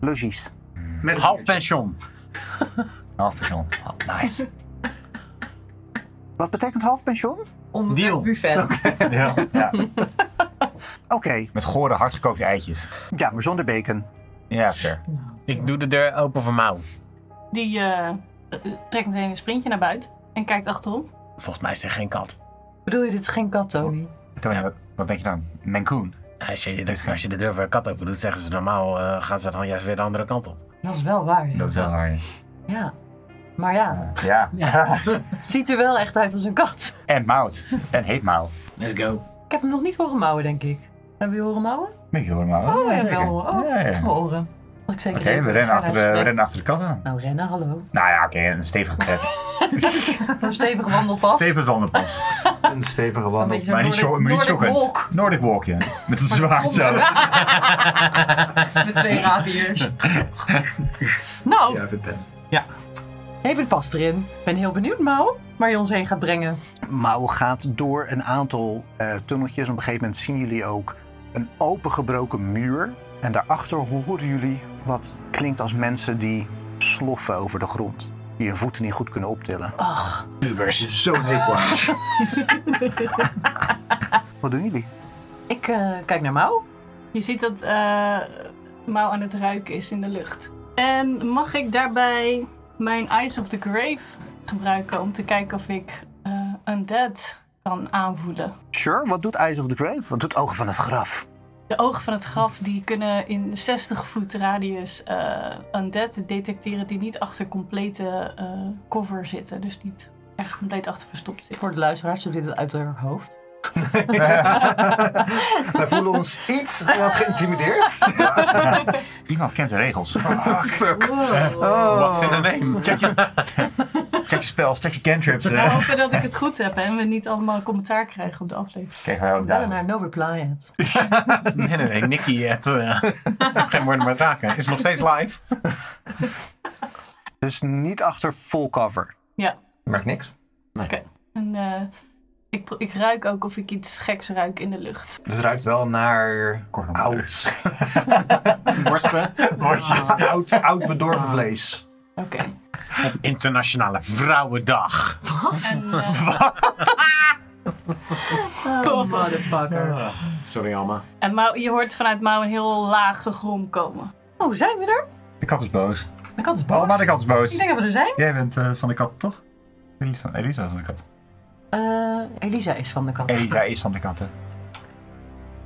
Logies. Met half pension. Half persoon. Oh, [LAUGHS] nice. Wat betekent halfpension? Om Deal. het buffet. ja. ja. Oké, Met gore, hardgekookte eitjes. ja, maar zonder bacon. Ja, fair. Ik doe de deur open voor Mau. Die eh, eh, trekt meteen een sprintje naar buiten en kijkt achterom. Volgens mij is er geen kat. Bedoel je, dit is geen kat, Tony? Tony, wat, wat denk je dan? Mancoon? Als je, als je de deur voor een kat open doet, zeggen ze normaal, eh, gaat ze dan juist weer de andere kant op. Dat is wel waar. Ja. Dat is wel waar. Ja. Maar ja, Ja. het ziet er wel echt uit als een kat. en mout. En heet mouw. Let's go. Ik heb hem nog niet horen mouwen, denk ik. Hebben jullie horen mouwen? Weet je hoor, mouw. Oh, ja, zeker. wel. Oh, Ja, ja. mijn oren. Als ik zeker Oké, even we, rennen ga achter de, we uitspreken. rennen achter de kat aan. Nou, rennen, hallo. Nou ja, oké, een stevige [LAUGHS] tred. Een stevige wandelpas. Stevig wandelpas. Een stevige Een beetje zo'n Maar niet, Noordic- zo, maar niet Noordic schokkend. wolk. Noordic walk, ja. Met een zwaard zo. [LAUGHS] Met twee rapiers. nou, even de pas erin. Ik ben heel benieuwd, Mau, waar je ons heen gaat brengen. Mouw gaat door een aantal eh, tunneltjes. Op een gegeven moment zien jullie ook een opengebroken muur. En daarachter horen jullie wat klinkt als mensen die sloffen over de grond. Die hun voeten niet goed kunnen optillen. Ach, Pubers. Zo netwaar. [LAUGHS] wat doen jullie? ik eh, kijk naar Mau. Je ziet dat eh Mau aan het ruiken is in de lucht. En mag ik daarbij mijn Eyes of the Grave gebruiken om te kijken of ik eh undead kan aanvoelen? Sure, wat doet Eyes of the Grave? Wat doet Ogen van het Graf? De ogen van het graf die kunnen in 60 voet radius eh undead detecteren die niet achter complete eh, cover zitten. Dus niet ergens compleet achter verstopt zitten. Voor de luisteraars, doe dit het uit haar hoofd. Wij voelen ons iets wat geïntimideerd. Iemand kent de regels. Oh. What's in a name? [LAUGHS] Check je spels, check je cantrips. We eh. hopen dat ik het goed heb hè, en we niet allemaal commentaar krijgen op de aflevering. Kijk, wij ook Bellen daar. naar No Reply It. [LAUGHS] Nee, nee, nee. Nicky, het, eh, het geen woorden meer raken. Is nog steeds live. Dus niet achter full cover. Ja, Merk niks. oké. En eh, ik, pro- ik ruik ook of ik iets geks ruik in de lucht. Dus het ruikt wel naar oud. [LAUGHS] Worsten. Oud, oud bedorven vlees. Oké. Internationale Vrouwendag. En, [LAUGHS] eh, Oh, motherfucker. Ah, Sorry, Alma. en Mau, je hoort vanuit Mau een heel laag gegrom komen. Oh, zijn we er? De kat is boos. De kat is boos. Oh, maar de kat is Ik boos. denk dat we er zijn. Jij bent eh, van de kat, toch? Elisa, Elisa is van de kat. Eh, Elisa is van de kat. Elisa is van de kat, hè.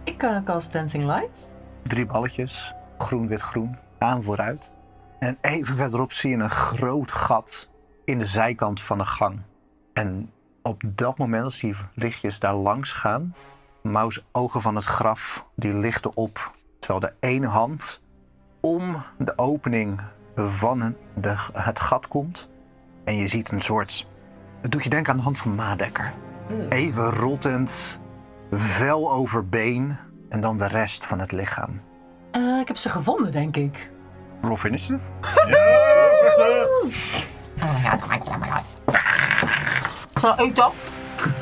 Ik eh, cast Dancing Lights. Drie balletjes. Groen, wit, groen. Aan vooruit. En even verderop zie je een groot gat in de zijkant van de gang. En op dat moment, als die lichtjes daar langs gaan, Mau's ogen van het graf, die lichten op. Terwijl de ene hand om de opening van de, het gat komt. En je ziet een soort... Het doet je denken aan de hand van Madekker. Even rottend, vel over been en dan de rest van het lichaam. Eh, ik heb ze gevonden, denk ik. Roll for initiative. Zo, eet op.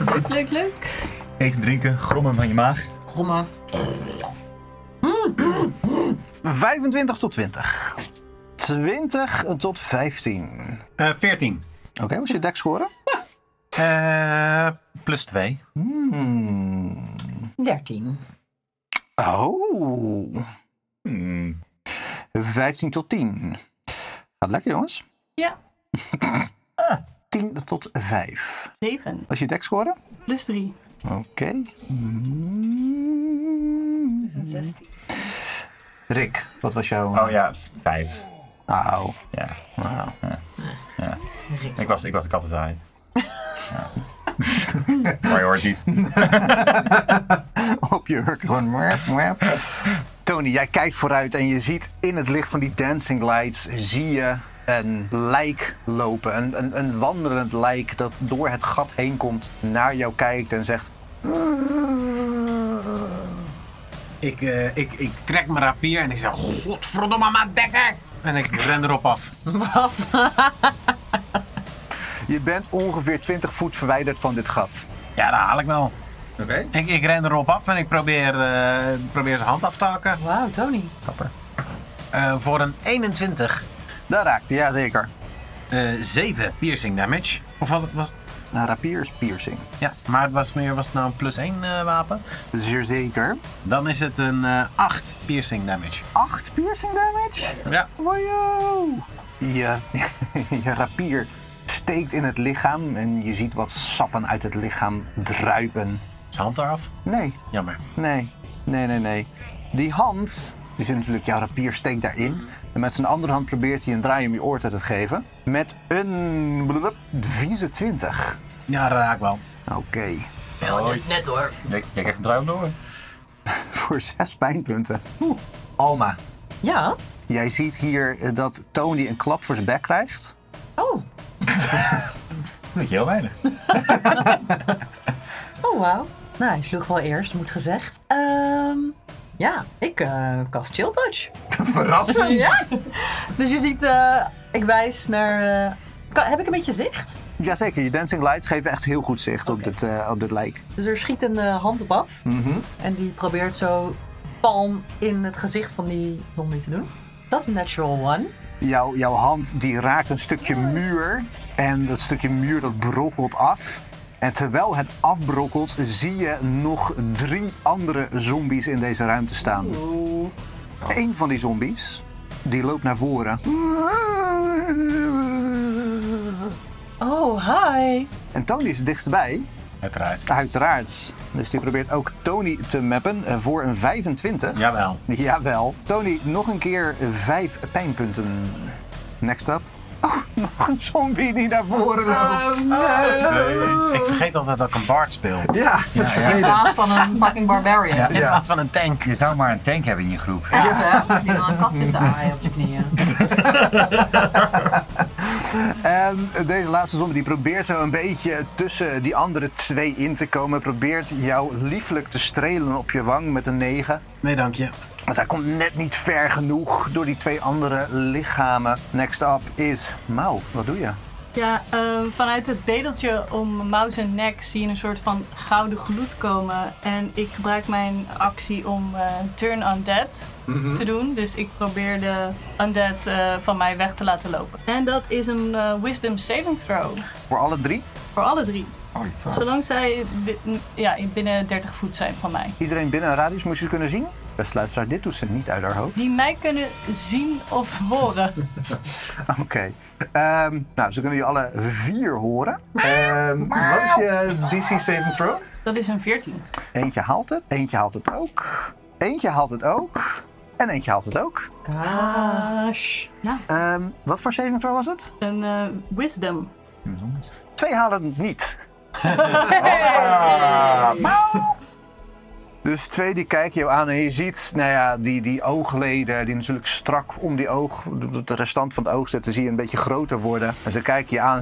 Leuk, leuk, leuk. Eten, drinken, grommen van je maag. Gromma. 25 tot 20. 20 tot 15. 14. Oké, wat is je deck scoren? plus 2. Hmm. 13. Oh. Hmm. 15 tot 10. Gaat lekker, jongens. Ja. 10 tot 5. 7. Als je deck scoren? Plus 3. Oké. Hmm. Dus een 16. Rick, wat was jouw... Nou. Oh ja, vijf. Auw. Ja. Ja. Ja. Ik, was, ik was de kat uit. Ja. [LAUGHS] maar je hoort niet. op je hurk. Gewoon mwep, mwep. Tony, jij kijkt vooruit en je ziet in het licht van die dancing lights... zie je een lijk lopen. Een, een, een wandelend lijk dat door het gat heen komt... naar jou kijkt en zegt... Ik, eh, ik, ik trek mijn rapier en ik zeg: Godverdomme, maar dekker! En ik ren erop af. Wat? [LAUGHS] Je bent ongeveer 20 voet verwijderd van dit gat. Ja, dat haal ik wel. Oké. Ik, ik ren erop af en ik probeer, eh, probeer zijn hand af te hakken. Wauw, Tony. Kapper. voor een 21. Dat raakt, ja zeker. 7 eh, piercing damage. Of had het- was Een rapier is piercing. Ja, maar het was, meer, was het nou een plus 1 wapen? Zeer zeker. Dan is het een eh 8 piercing damage. 8 piercing damage? Ja. Wajo! Je, [LAUGHS] je rapier steekt in het lichaam en je ziet wat sappen uit het lichaam druipen. Zijn hand eraf? Nee, Jammer. nee, nee, nee, nee. Die hand, die zit natuurlijk, jouw rapier steekt daarin. En met zijn andere hand probeert hij een draai om je oor te geven. Met een blub, vieze 20. Ja, dat raak wel. Oké, Hoi. Oh, Net hoor. Jij, jij krijgt een draai om de oren. [LAUGHS] voor 6 pijnpunten. Oeh. Alma, Ja? jij ziet hier eh, dat Tony een klap voor zijn bek krijgt. Oh. Dat is heel weinig. Oh, wauw. Nou, hij sloeg wel eerst, moet gezegd. Ehm, ja, ik eh kast Chill Touch. Verrassend! [LAUGHS] Ja. Dus je ziet, eh, ik wijs naar... eh, kan- heb ik een beetje zicht? Jazeker, je dancing lights geven echt heel goed zicht op, dit, eh, op dit lijk. Dus er schiet een eh, hand op af. Mhm. En die probeert zo palm in het gezicht van die zombie te doen. Dat is een natural one. Jouw, jouw hand die raakt een stukje muur en dat stukje muur dat brokkelt af. En terwijl het afbrokkelt zie je nog drie andere zombies in deze ruimte staan. Eén van die zombies, die loopt naar voren. Oh, hi. En Tony is het dichtstbij, Uiteraard. uiteraard. Dus die probeert ook Tony te mappen eh, voor een 25. Jawel. Jawel. Tony, nog een keer vijf pijnpunten. Next up. [LAUGHS] Oh, nog een zombie die naar voren loopt. Ik vergeet altijd dat ik een bard speel. Ja. In plaats van een fucking barbarian. In plaats van een tank. Je zou maar een tank hebben in je groep. Echt, hè? Die dan een kat zit te aaien op zijn knieën. En Ehm, deze laatste zombie die probeert zo een beetje tussen die andere twee in te komen. Probeert jou lieflijk te strelen op je wang met een 9. Nee, dank je. Dus hij komt net niet ver genoeg door die twee andere lichamen. Next up is Mau. Wat doe je? Ja, ehm, vanuit het bedeltje om mouw en nek zie je een soort van gouden gloed komen. En ik gebruik mijn actie om eh, Turn Undead Mhm. te doen. Dus ik probeer de Undead eh, van mij weg te laten lopen. En dat is een eh, Wisdom Saving Throw Voor alle drie? voor alle drie. Holy fuck. Zolang zij bi- ja, binnen 30 voet zijn van mij. Iedereen binnen een radius moest je ze kunnen zien? Beste luisteraar, dit doet ze niet uit haar hoofd. Die mij kunnen zien of horen. Oké. Ehm, nou, ze kunnen je alle vier horen. Ehm, wat is je DC saving throw? Dat is een 14. Eentje haalt het, eentje haalt het ook. Eentje haalt het ook. En eentje haalt het ook. Gosh. Ehm, wat voor saving throw was het? Een eh, Wisdom. Twee halen het niet. Ah. Dus twee die kijken jou aan en je ziet, nou ja, die, die oogleden, die natuurlijk strak om die oog, de restant van het oog zitten, zie je een beetje groter worden. En ze kijken je aan.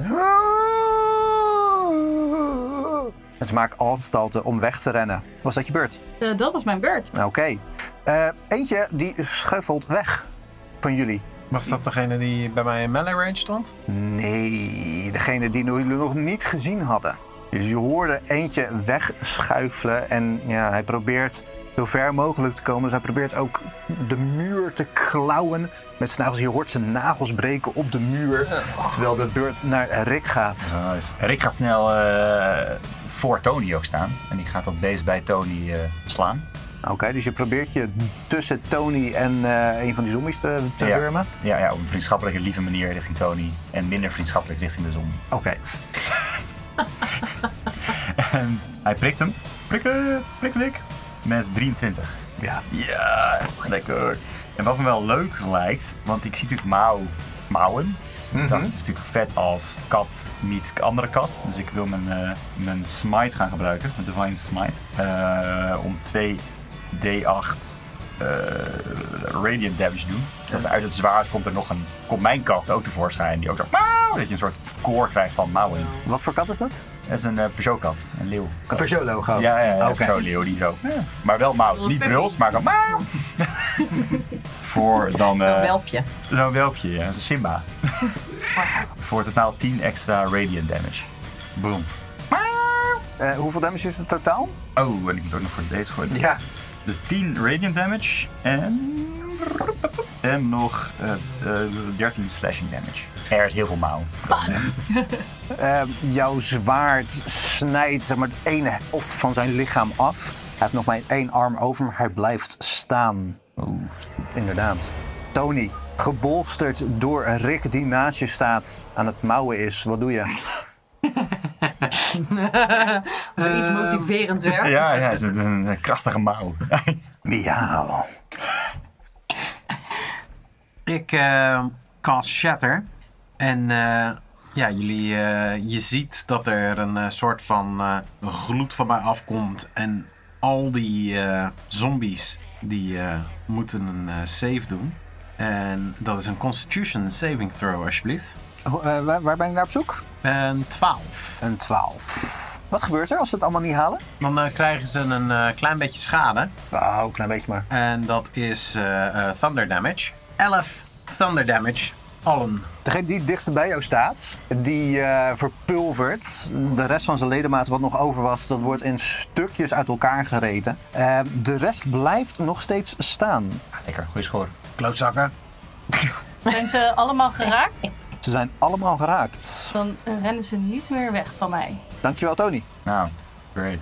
En ze maken aanstalten om weg te rennen. Was dat je beurt? Nou, Eh, dat was mijn beurt. Oké. Eh, eentje die schuifelt weg van jullie. Was dat degene die bij mij in melee range stond? Nee, degene die jullie nog niet gezien hadden. Dus je hoorde eentje wegschuifelen en ja, hij probeert zo ver mogelijk te komen. Dus hij probeert ook de muur te klauwen met zijn nagels. Je hoort zijn nagels breken op de muur, terwijl de beurt naar Rick gaat. Rick gaat snel eh, voor Tony ook staan. En die gaat dat beest bij Tony eh, slaan. Oké, dus je probeert je tussen Tony en eh, een van die zombies te, te ja. wurmen? Ja, ja, op een vriendschappelijke, lieve manier richting Tony. En minder vriendschappelijk richting de zombie. Oké. en hij prikt hem. Prikken, prik, prik. Met 23. Ja. Ja, lekker. En wat me wel leuk lijkt, want ik zie natuurlijk mouw, mouwen. Dat is natuurlijk vet als kat meet andere kat. Dus ik wil mijn, eh, mijn smite gaan gebruiken, mijn divine smite. eh, om 2d8 eh, radiant damage te doen. Dus dat uit het zwaard komt er nog een, komt mijn kat ook tevoorschijn. Die ook zo, mauw, dat je een soort koor krijgt van mouwen. Wat voor kat is dat? Dat is een eh Peugeot-kat, een leeuw. Een Peugeot-logo? Ja, ja, ja Oké. zo'n leeuw die zo. Maar wel mouw, niet brult, maar dan mauw. [LAUGHS] Voor dan... eh, Zo'n welpje. Zo'n welpje, ja. Zo'n Simba. Voor totaal 10 extra radiant damage. Boom. Eh, hoeveel damage is het totaal? Oh, en ik moet ook nog voor deze gooien. Ja. Dus 10 radiant damage en... En nog eh, eh, 13 slashing damage. Er is heel veel mouw. Ehm, jouw zwaard snijdt zeg maar, de ene helft van zijn lichaam af. Hij heeft nog maar één arm over, maar hij blijft staan. Inderdaad. Tony, gebolsterd door Rick die naast je staat, aan het mouwen is. Wat doe je? Zoiets motiverend werk. Ja, [LAUGHS] ja, is een, een krachtige [LAUGHS] mouw. Miauw. Ik eh, cast Shatter. En eh, ja, jullie, eh, je ziet dat er een eh, soort van eh, gloed van mij afkomt. En al die eh, zombies die eh, moeten een eh, save doen. En dat is een Constitution saving throw, alsjeblieft. Oh, eh, waar, waar ben ik naar op zoek? Een 12. Een 12. Wat gebeurt er als ze het allemaal niet halen? Dan eh, krijgen ze een eh, klein beetje schade. Oh, een klein beetje maar. En dat is eh, eh, thunder damage. 11 thunder damage. Allen. Degene die het dichtst bij jou staat, die eh, verpulvert. De rest van zijn ledemaat wat nog over was, dat wordt in stukjes uit elkaar gereten. Eh, de rest blijft nog steeds staan. Lekker, goede score. Klootzakken. Zijn ze allemaal geraakt? Ze zijn allemaal geraakt. Dan rennen ze niet meer weg van mij. Dankjewel, Tony. Nou, great.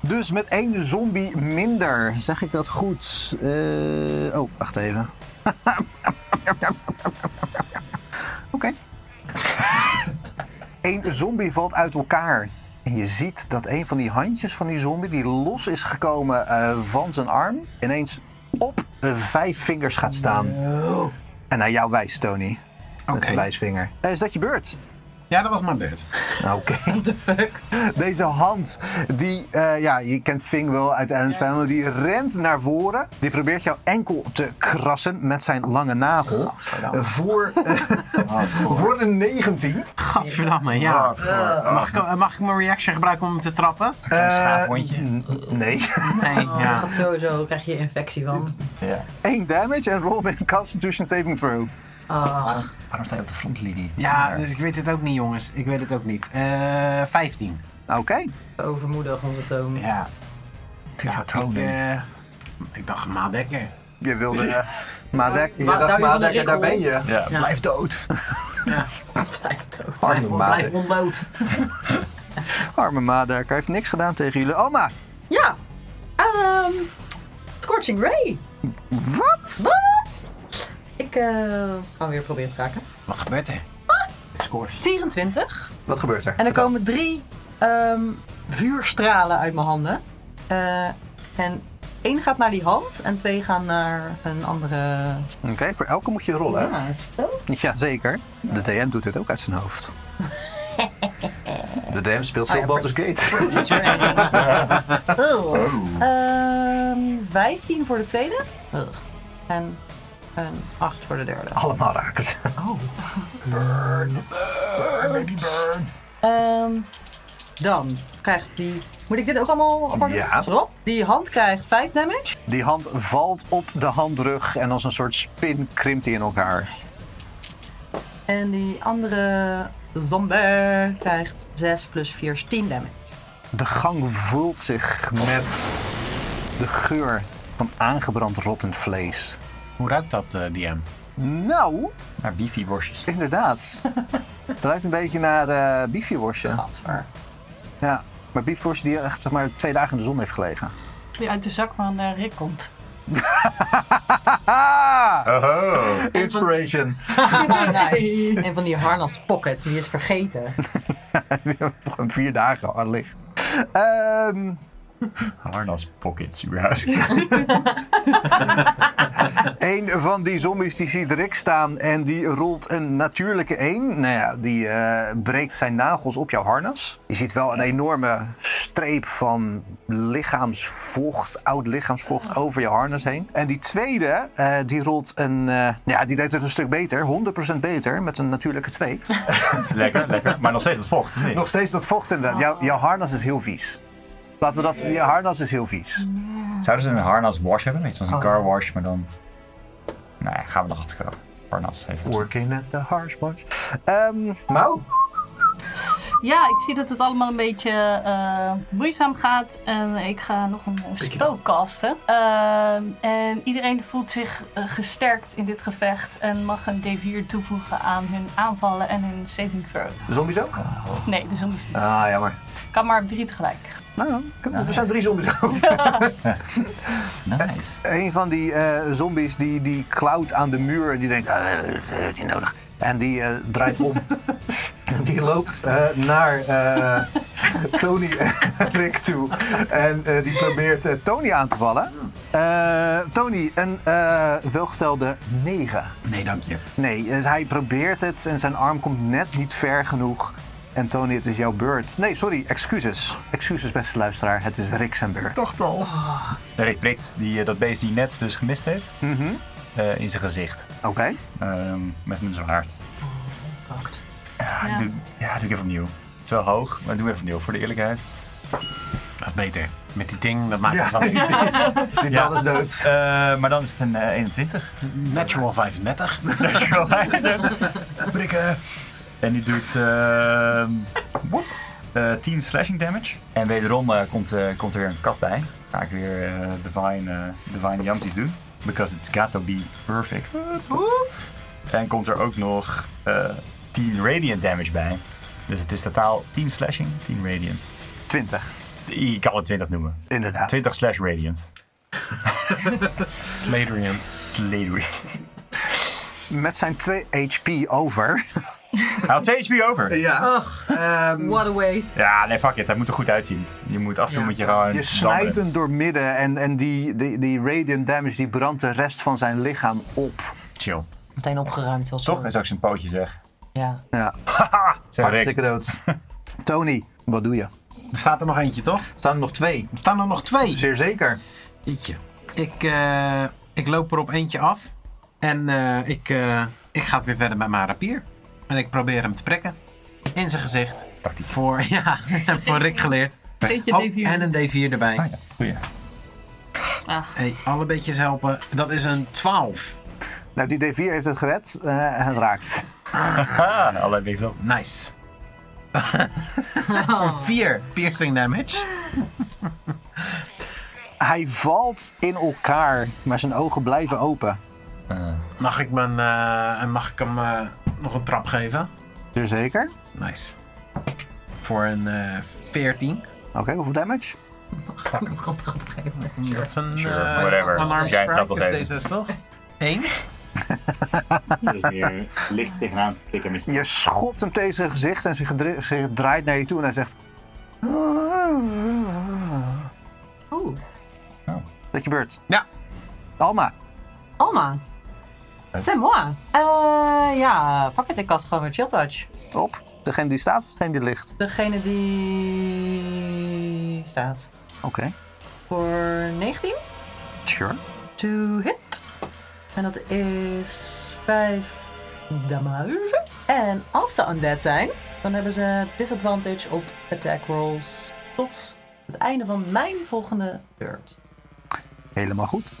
Dus met één zombie minder. Zeg ik dat goed? Eh, oh, wacht even. [LAUGHS] Oké. [LAUGHS] Eén zombie valt uit elkaar. En je ziet dat een van die handjes van die zombie, die los is gekomen eh, van zijn arm, ineens op eh, vijf vingers gaat staan. En naar jou wijst, Tony. Met zijn wijsvinger. Eh, is dat je beurt? Ja, dat was mijn beurt. Oké. Deze hand, die, eh, ja, je kent Ving wel uit Adam's Family, die rent naar voren. Die probeert jouw enkel te krassen met zijn lange nagel. Eh, [LAUGHS] Voor, eh, voor een 19. Gadverdamme, ja. Mag ik, eh, mag ik mijn reaction gebruiken om hem te trappen? Oh, schaafwondje. Eh, n- Nee. [LAUGHS] [LAUGHS] Nee, ja. Dat sowieso krijg je infectie van. 1 damage en roll met een Constitution Saving Throw. Ah, Waarom sta je op de frontlinie? Ja, dus ik weet het ook niet, jongens. Ik weet het ook niet. Eh 15. Nou, Oké. overmoedig ehm, onze toon. [LAUGHS] Ja. ja ik, Tony. eh, ik dacht, Maadekker. Je wilde. [LAUGHS] eh, Madek, je Maar dacht, daar wilde Madek, Rick daar om. ben je. Ja, blijf dood. Arme Blijf Madek. ondood. Arme Madek, hij heeft niks gedaan tegen jullie. Oma, Ja. Ehm, Scorching Ray. wat? Wat? Ik eh kan weer proberen te raken. Wat gebeurt er? 24. Wat gebeurt er? En er komen drie ehm, vuurstralen uit mijn handen. Eh, en één gaat naar die hand en twee gaan naar een andere... Oké, voor elke moet je rollen. Oh. hè? Ja, zo. [LAUGHS] Jazeker. De DM doet dit ook uit zijn hoofd. De DM speelt veel Baldur's Gate. [LAUGHS] Oh. Ehm, 15 voor de tweede. En een 8 voor de derde. Allemaal raken ze. Ehm, dan krijgt die... Moet ik dit ook allemaal apart doen? Ja. Zo. Die hand krijgt 5 damage. Die hand valt op de handrug en als een soort spin krimpt hij in elkaar. En die andere zombie krijgt 6 plus 4 is 10 damage. De gang vult zich met de geur van aangebrand rottend vlees. Hoe ruikt dat, eh, DM? Nou, Naar bifi-worstjes. inderdaad. het ruikt een beetje naar eh biefjeworstje. Ja, maar biefworstje die echt zeg maar, twee dagen in de zon heeft gelegen. [LAUGHS] Die uit de zak van eh, Rick komt. Oh. Inspiration. Nice. En van die harnas pockets, die is vergeten. Die hebben we gewoon vier dagen al licht. Ehm, Harnas pockets, überhaupt. een van die zombies die ziet Rick staan en die rolt een natuurlijke één. Nou ja, die eh, breekt zijn nagels op jouw harnas. Je ziet wel een enorme streep van lichaamsvocht, oud lichaamsvocht over je harnas heen. En die tweede, eh, die rolt een... eh, nou ja, die deed het een stuk beter, 100% beter, met een natuurlijke 2. lekker, lekker. Maar nog steeds het vocht. of niet? Nog steeds dat vocht inderdaad. Jouw, jouw harnas is heel vies. Laten we dat... Je harnas is heel vies. Zouden ze een harnas wash hebben? Weet je, zoals een car wash, maar dan... Nee, gaan we nog achterkomen. Harnas heeft het. Working at the harsh bunch. Ehm Mau? Ja, ik zie dat het allemaal een beetje eh, moeizaam gaat. En ik ga nog een eh, spel casten. Ehm, en iedereen voelt zich eh, gesterkt in dit gevecht. En mag een D4 toevoegen aan hun aanvallen en hun saving throw. Zombies ook? Nee, de zombies niet. Ah, jammer. Kan maar op drie tegelijk. Nou, er zijn drie zombies over. [LAUGHS] Nice. Een van die eh, zombies die, die klauwt aan de muur en die denkt, eh, dat heb ik niet nodig. En die eh, draait om. [LAUGHS] En die loopt eh, naar eh, Tony en Rick toe. En eh, die probeert eh, Tony aan te vallen. Eh, Tony, een eh, welgestelde 9. Nee, dank je. Nee, eh, hij probeert het en zijn arm komt net niet ver genoeg. En Tony, het is jouw beurt. Nee, sorry, excuses. Excuses, beste luisteraar. Het is Rick zijn beurt. Toch wel. Rick prikt die, eh, dat beest die net dus gemist heeft Mhm. eh, in zijn gezicht. Oké. Ehm, met mijn zwaard. Ja, Ja. Doe, ja, doe ik even opnieuw. Het is wel hoog, maar doe even opnieuw voor de eerlijkheid. Dat is beter. Met die ding, dat maakt het wel Die Ja. bal is dood. Eh, maar dan is het een eh, 21. Natural [LAUGHS] 35. Dankjewel. Prikken. En die doet ehm, woep, eh, 10 slashing damage. En wederom eh, komt, eh, komt er weer een kat bij. Ga ik weer eh, Divine, eh divine Yamsies doen. Because it's got to be perfect. En komt er ook nog eh 10 radiant damage bij. Dus het is totaal 10 slashing, 10 radiant. 20, Ik kan het 20 noemen. inderdaad. 20 slash [LAUGHS] radiant. Sladeriant. Sladery. Met zijn 2 HP over. Hij had 2 HP over. Ja. What a waste. Ja, nee, fuck it. Hij moet er goed uitzien. Je moet af en toe moet je gewoon... Je snijdt dampen. hem doormidden en, en die, die, die radiant damage die brandt de rest van zijn lichaam op. Chill. Meteen opgeruimd was Toch is ook zijn pootje zeg. [LAUGHS] Ja. Ja, Zeg hartstikke Rick. [LAUGHS] dood. Tony, wat doe je? Er staat er nog eentje, toch? Er staan er nog twee. Er staan er nog twee. Zeer zeker. Jeetje. Ik, eh, ik loop er op eentje af. En eh, ik, eh, ik ga het weer verder met mijn rapier. En ik probeer hem te prikken. In zijn gezicht. Tactiek. Voor, [LAUGHS] ja, voor Rick geleerd. Beetje Oh, D4. en een D4 erbij. Ah ja, goeie. Ah, Hey, alle beetjes helpen. Dat is een 12. Nou, die D4 heeft het gered eh, en het raakt. Haha, alleen weet wel. Nice. Voor 4 piercing damage. Hij valt in elkaar, maar zijn ogen blijven open. Mag ik, mijn, eh, en mag ik hem eh, nog een trap geven? Zeer zeker. Nice. Voor een eh 14. Oké, hoeveel damage? Dat is een Sure, eh, whatever. alarm Jij strike, trapt wel dat is even. D6 toch? 1. Dus weer licht tegenaan klikken met je. Je schopt hem tegen zijn gezicht en zich, gedra- zich draait naar je toe en hij zegt... Oeh. Dat je beurt. Ja. Alma. Alma. C'est moi. Eh, ja, fuck it, ik kast gewoon weer Chill Touch. Op. Degene die staat of degene die ligt? Degene die staat. Oké. Voor 19. Sure. To hit. En dat is 5 damage. En als ze undead zijn, dan hebben ze disadvantage op attack rolls tot het einde van mijn volgende beurt. Helemaal goed.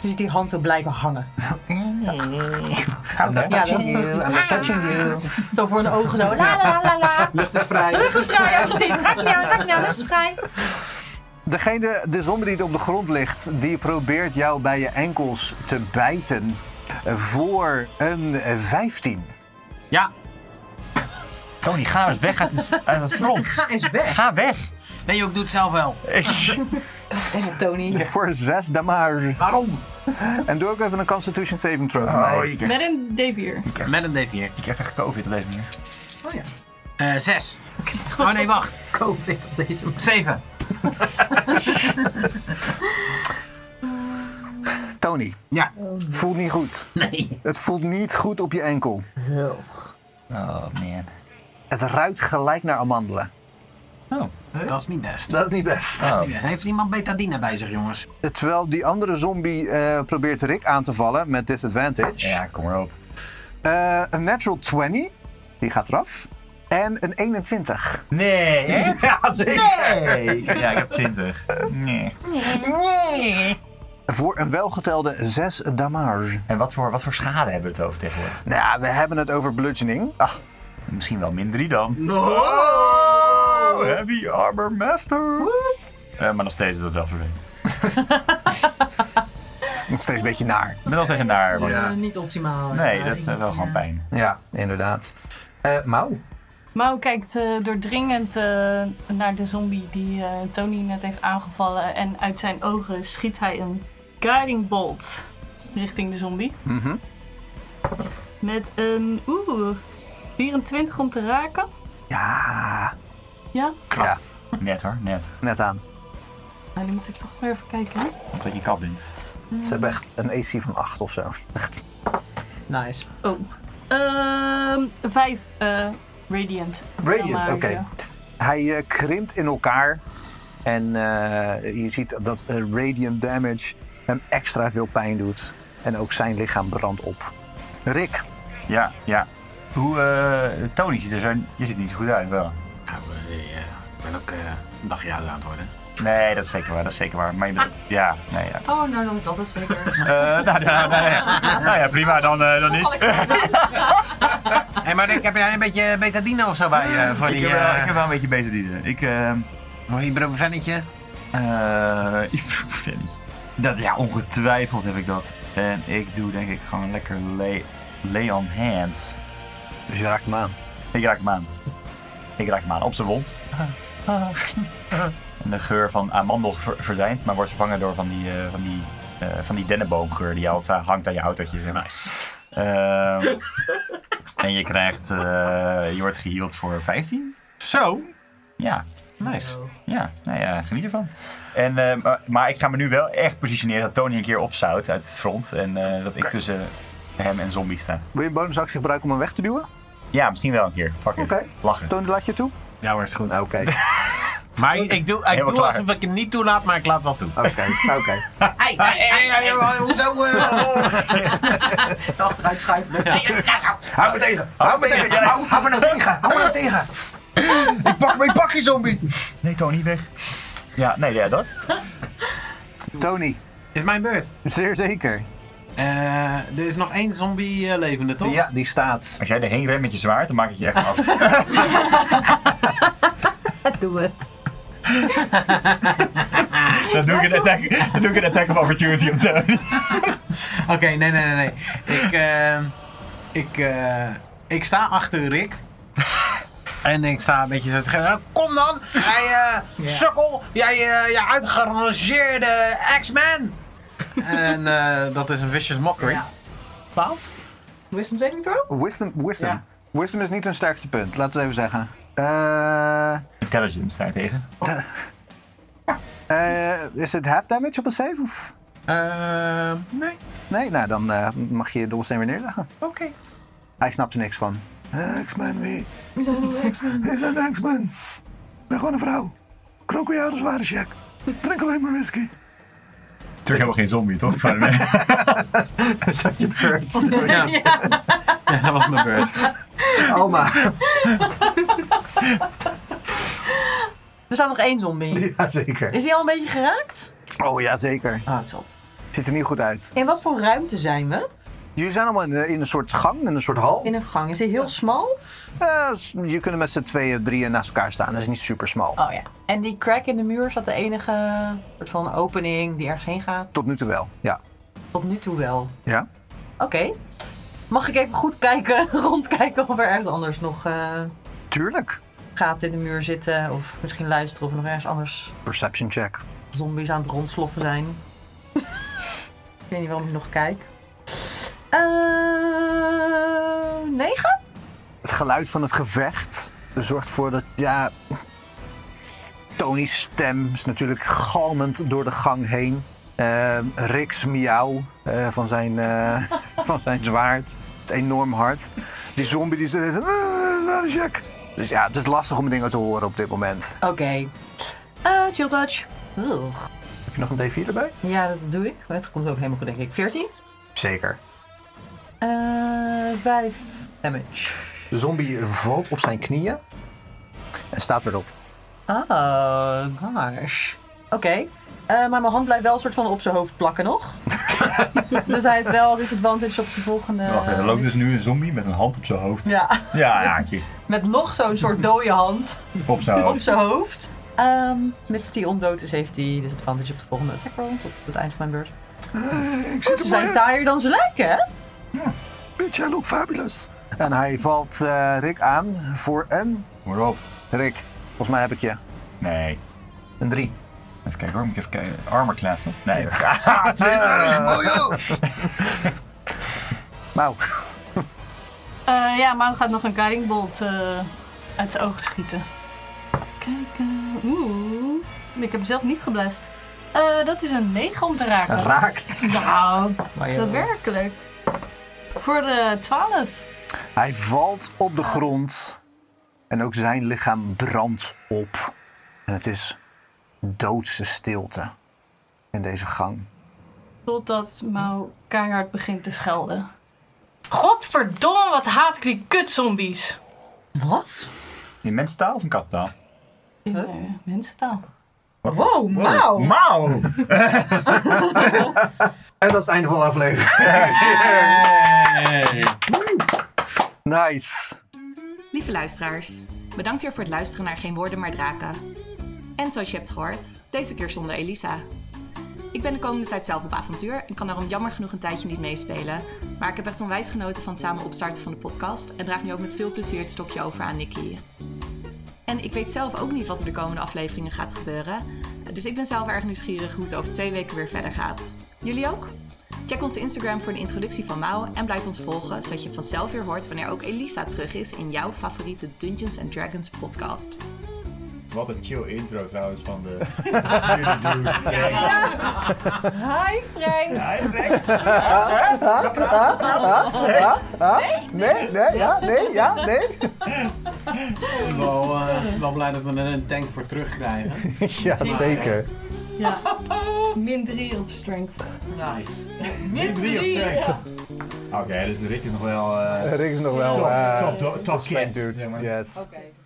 Dus die hand zou blijven hangen. I'm Ja, not touching dat- you, I'm not touching you. Zo voor hun ogen zo. La la la la la. [LAUGHS] Lucht is vrij. nou, Lucht is vrij, ja precies. Ga ik niet aan, ga ik niet aan. Lucht is vrij. Degene, de zombie die er op de grond ligt, die probeert jou bij je enkels te bijten voor een 15. Ja. Tony, ga eens weg uit het, uit het front. Ga eens weg. Ga weg. Nee, joh, ik doe het zelf wel. En het Tony. Voor 6 damage. Waarom? En doe ook even een Constitution saving throw van Oh, mij. je krijgt, Met een D4. Met een D4. je krijgt echt COVID op deze manier. Oh ja. Eh, zes. Oh nee, wacht. Covid op deze manier. Zeven. Tony, Ja. voelt niet goed. Nee. Het voelt niet goed op je enkel. Oh, man. Het ruikt gelijk naar amandelen. Dat is niet best. Dat is niet best. Oh. Heeft iemand betadine bij zich, jongens? Terwijl die andere zombie eh, probeert Rick aan te vallen met disadvantage. Ja, kom maar op. Eh, een natural 20, die gaat eraf. En een 21. [LAUGHS] Nee, echt? Ja, zeker. Nee. Ja, ik heb 20. Nee. Voor een welgetelde 6 damage. En wat voor, wat voor schade hebben we het over tegenwoordig? Nou, ja, we hebben het over bludgeoning. Misschien wel min 3 dan. Oh, heavy armor master. Eh, maar nog steeds is dat wel vervelend. Nog steeds een beetje naar. Ik ben nog steeds een daar. want- Eh, niet optimaal. Oh, Nee, Ja, dat ik- is wel gewoon pijn. Ja, inderdaad. Eh Mau, Mau kijkt eh, doordringend eh, naar de zombie die eh, Tony net heeft aangevallen. En uit zijn ogen schiet hij een guiding bolt richting de zombie. Mhm. Met een oeh, 24 om te raken. Ja, Ja, ja, Net hoor, net. net aan. nou, die moet ik toch weer even kijken. Hè? Omdat je kat bent. Ze hebben echt een AC van 8 of zo. Echt. Nice. Oh. Ehm, vijf eh, radiant. Radiant, oké. Maar, ja. Hij eh, krimpt in elkaar. En eh, je ziet dat eh, radiant damage hem extra veel pijn doet. En ook zijn lichaam brandt op. Rick, Ja, ja. Hoe, eh, Tony ziet er zo, je ziet er niet zo goed uit wel. Nou, eh, ja, ik ben ook eh, een dagje ouder aan het [LAUGHS] worden. Nee, dat is zeker waar, dat is zeker waar. Maar je bedoelt- ja, nee, ja. Oh, nou dan is dat het [LAUGHS] zeker. Eh, nou, nou, nou, ja. nou ja, prima, dan, eh, dan niet. Hé, maar Rick, heb jij een beetje betadine of zo bij je? Voor Ik die, heb, wel, ik eh heb wel een beetje beter dienen. Ik, eh, voor je brobevennetje? eh, [LAUGHS] ibuprofen. dat, ja, ongetwijfeld heb ik dat. En ik doe denk ik gewoon lekker lay, lay on hands. dus je raakt hem aan. Ik raak hem aan. Ik raak hem aan op zijn wond. En de geur van amandel ver- verdwijnt, maar wordt vervangen door van die, eh, van die, eh, van die dennenboomgeur die altijd hangt aan je autootje. Zeg maar. [LAUGHS] Ehm, en je krijgt, eh, je wordt geheeld voor 15. Zo. Ja, Nice. ja, nou ja, geniet ervan. En, eh, maar, maar ik ga me nu wel echt positioneren dat Tony een keer opzout uit het front. En eh, dat ik tussen hem en zombie sta. Wil je een bonusactie gebruiken om hem weg te duwen? Ja, misschien wel een keer. Fuck it. Oké. Lachen. Toon, laat je toe? Ja hoor, is goed. Oké, oké, Maar ik, ik doe, ik Helemaal doe klaar. alsof ik het niet toelaat, maar ik laat wel toe. oké. Hey, hey, hey, hoezo? eh? achteruit schuiven. Hou me tegen! Hou me tegen! Hou, hou me nou tegen! Hou me nou tegen! Ik pak mijn pakje, zombie! Nee, Tony, weg. Ja, nee, ja, dat. Tony, [LAUGHS] is mijn beurt. zeer zeker. Eh, er is nog één zombie eh, levende, toch? Ja, die staat. Als jij erheen rent met je zwaard, dan maak ik je echt af. Doe het. dan, doe ik een attack, dan doe ik een attack of opportunity op Tony. Oké, nee, nee, nee. nee. Ik, eh, ik, eh, ik sta achter [LAUGHS] Rick. En ik sta een beetje zo te geven. Kom dan! Jij eh sukkel! Jij eh, jij uitgerangeerde X-Man! en eh, dat is een vicious mockery. Ja. 12? Wisdom saving throw? Wisdom, wisdom. Ja. Wisdom is niet hun sterkste punt, laten we het even zeggen. Eh, Intelligence daartegen. eh, is het half damage op een save? Of? Ehm, nee. Nee, nou dan eh, mag je je dobbelsteen weer neerleggen. Oké. Hij snapt er niks van. Eh, X-Men wie? Wie zijn de X-Men? Ik ben gewoon een vrouw. Krokodillen waren check. Drink alleen maar whisky. Natuurlijk helemaal geen zombie, toch? Is [LAUGHS] dat je beurt? Ja. ja, [LAUGHS] dat was mijn beurt. Alma. Er staat nog één zombie. Jazeker. Is die al een beetje geraakt? Oh, jazeker. Ah, het zal. Ziet er niet goed uit. In wat voor ruimte zijn we? Jullie zijn allemaal in, eh, in een soort gang, in een soort hal. In een gang. Is die heel smal? Eh, s- je kunt met z'n tweeën, drieën naast elkaar staan. Dat is niet super smal. Oh ja. En die crack in de muur is dat de enige soort van opening die ergens heen gaat? Tot nu toe wel, ja. Tot nu toe wel. Ja? Oké. Mag ik even goed kijken, [LAUGHS] rondkijken of er ergens anders nog... eh Tuurlijk. Gaat in de muur zitten of misschien luisteren of er nog ergens anders Perception check. zombies aan het rondsloffen zijn. [LAUGHS] ik weet niet waarom ik nog kijk. Eh negen? Het geluid van het gevecht zorgt ervoor dat, ja... Tony's stem is natuurlijk galmend door de gang heen. Ehm, Rick's miauw eh, van, zijn, eh, [LAUGHS] van zijn zwaard. Het is enorm hard. Die zombie die zit... even, "Ah, waar is Jack?" Dus ja, het is lastig om dingen te horen op dit moment. Oké. Eh, chill touch. Ugh. Heb je nog een D4 erbij? Ja, dat doe ik. Maar het komt ook helemaal goed, denk ik. 14. Zeker. Eh 5 damage. De zombie valt op zijn knieën en staat weer op. Oh, gosh. Oké. Eh, maar mijn hand blijft wel een soort van op zijn hoofd plakken [LAUGHS] nog. dus hij heeft wel disadvantage op zijn volgende... Wacht even, er loopt dus nu een zombie met een hand op zijn hoofd. Ja. Ja, een haakje. Met nog zo'n soort dode hand Op zijn hoofd. op zijn hoofd. Ehm, mits die ondood is, heeft hij disadvantage op de volgende attack roll. Tot het eind van mijn beurt. ik Ze zijn taaier dan ze lijken, hè? Bitch, I look fabulous. En hij valt eh, Rick aan voor een... Waarop? Rick, volgens mij heb ik je. Nee. Een 3. Even kijken hoor, moet ik even kijken. Armor class toch? Nee. Nou, Eh, ja, Mau gaat nog een guiding bolt eh, uit zijn ogen schieten. Kijken. Oeh. Ik heb mezelf niet geblest. Eh, dat is een 9 om te raken. Raakt. Nou, Maar ja. daadwerkelijk. Voor de 12. hij valt op de grond en ook zijn lichaam brandt op. En het is doodse stilte in deze gang. Totdat Mau keihard begint te schelden. Godverdomme, wat haat ik die kutzombies. Wat? In mensentaal of in kattaal? Nee, mensentaal. Wow, Mau! Mau! En dat is het einde van de aflevering. [LAUGHS] Nice. Lieve luisteraars, bedankt weer voor het luisteren naar Geen Woorden Maar Draken. En zoals je hebt gehoord, deze keer zonder Elisa. Ik ben de komende tijd zelf op avontuur en kan daarom jammer genoeg een tijdje niet meespelen. Maar ik heb echt onwijs genoten van het samen opstarten van de podcast en draag nu ook met veel plezier het stokje over aan Nikki. En ik weet zelf ook niet wat er de komende afleveringen gaat gebeuren. Dus ik ben zelf erg nieuwsgierig hoe het over twee weken weer verder gaat. Jullie ook? Check onze Instagram voor een introductie van Mau en blijf ons volgen, zodat je vanzelf weer hoort wanneer ook Elisa terug is in jouw favoriete Dungeons and Dragons podcast. Wat een chill intro trouwens van de. Hi Frank! Hi Nee, nee, ja, nee, ja, nee. Ik ben wel, eh, wel blij dat we er een tank voor terugkrijgen. Ja, zeker. Ja. Min 3 op strength. Nice. Min drie op strength. Oké, dus Rick is nog wel. eh, Rick is nog wel, Top, eh, top, top, top kid. dude. Yes. Oké.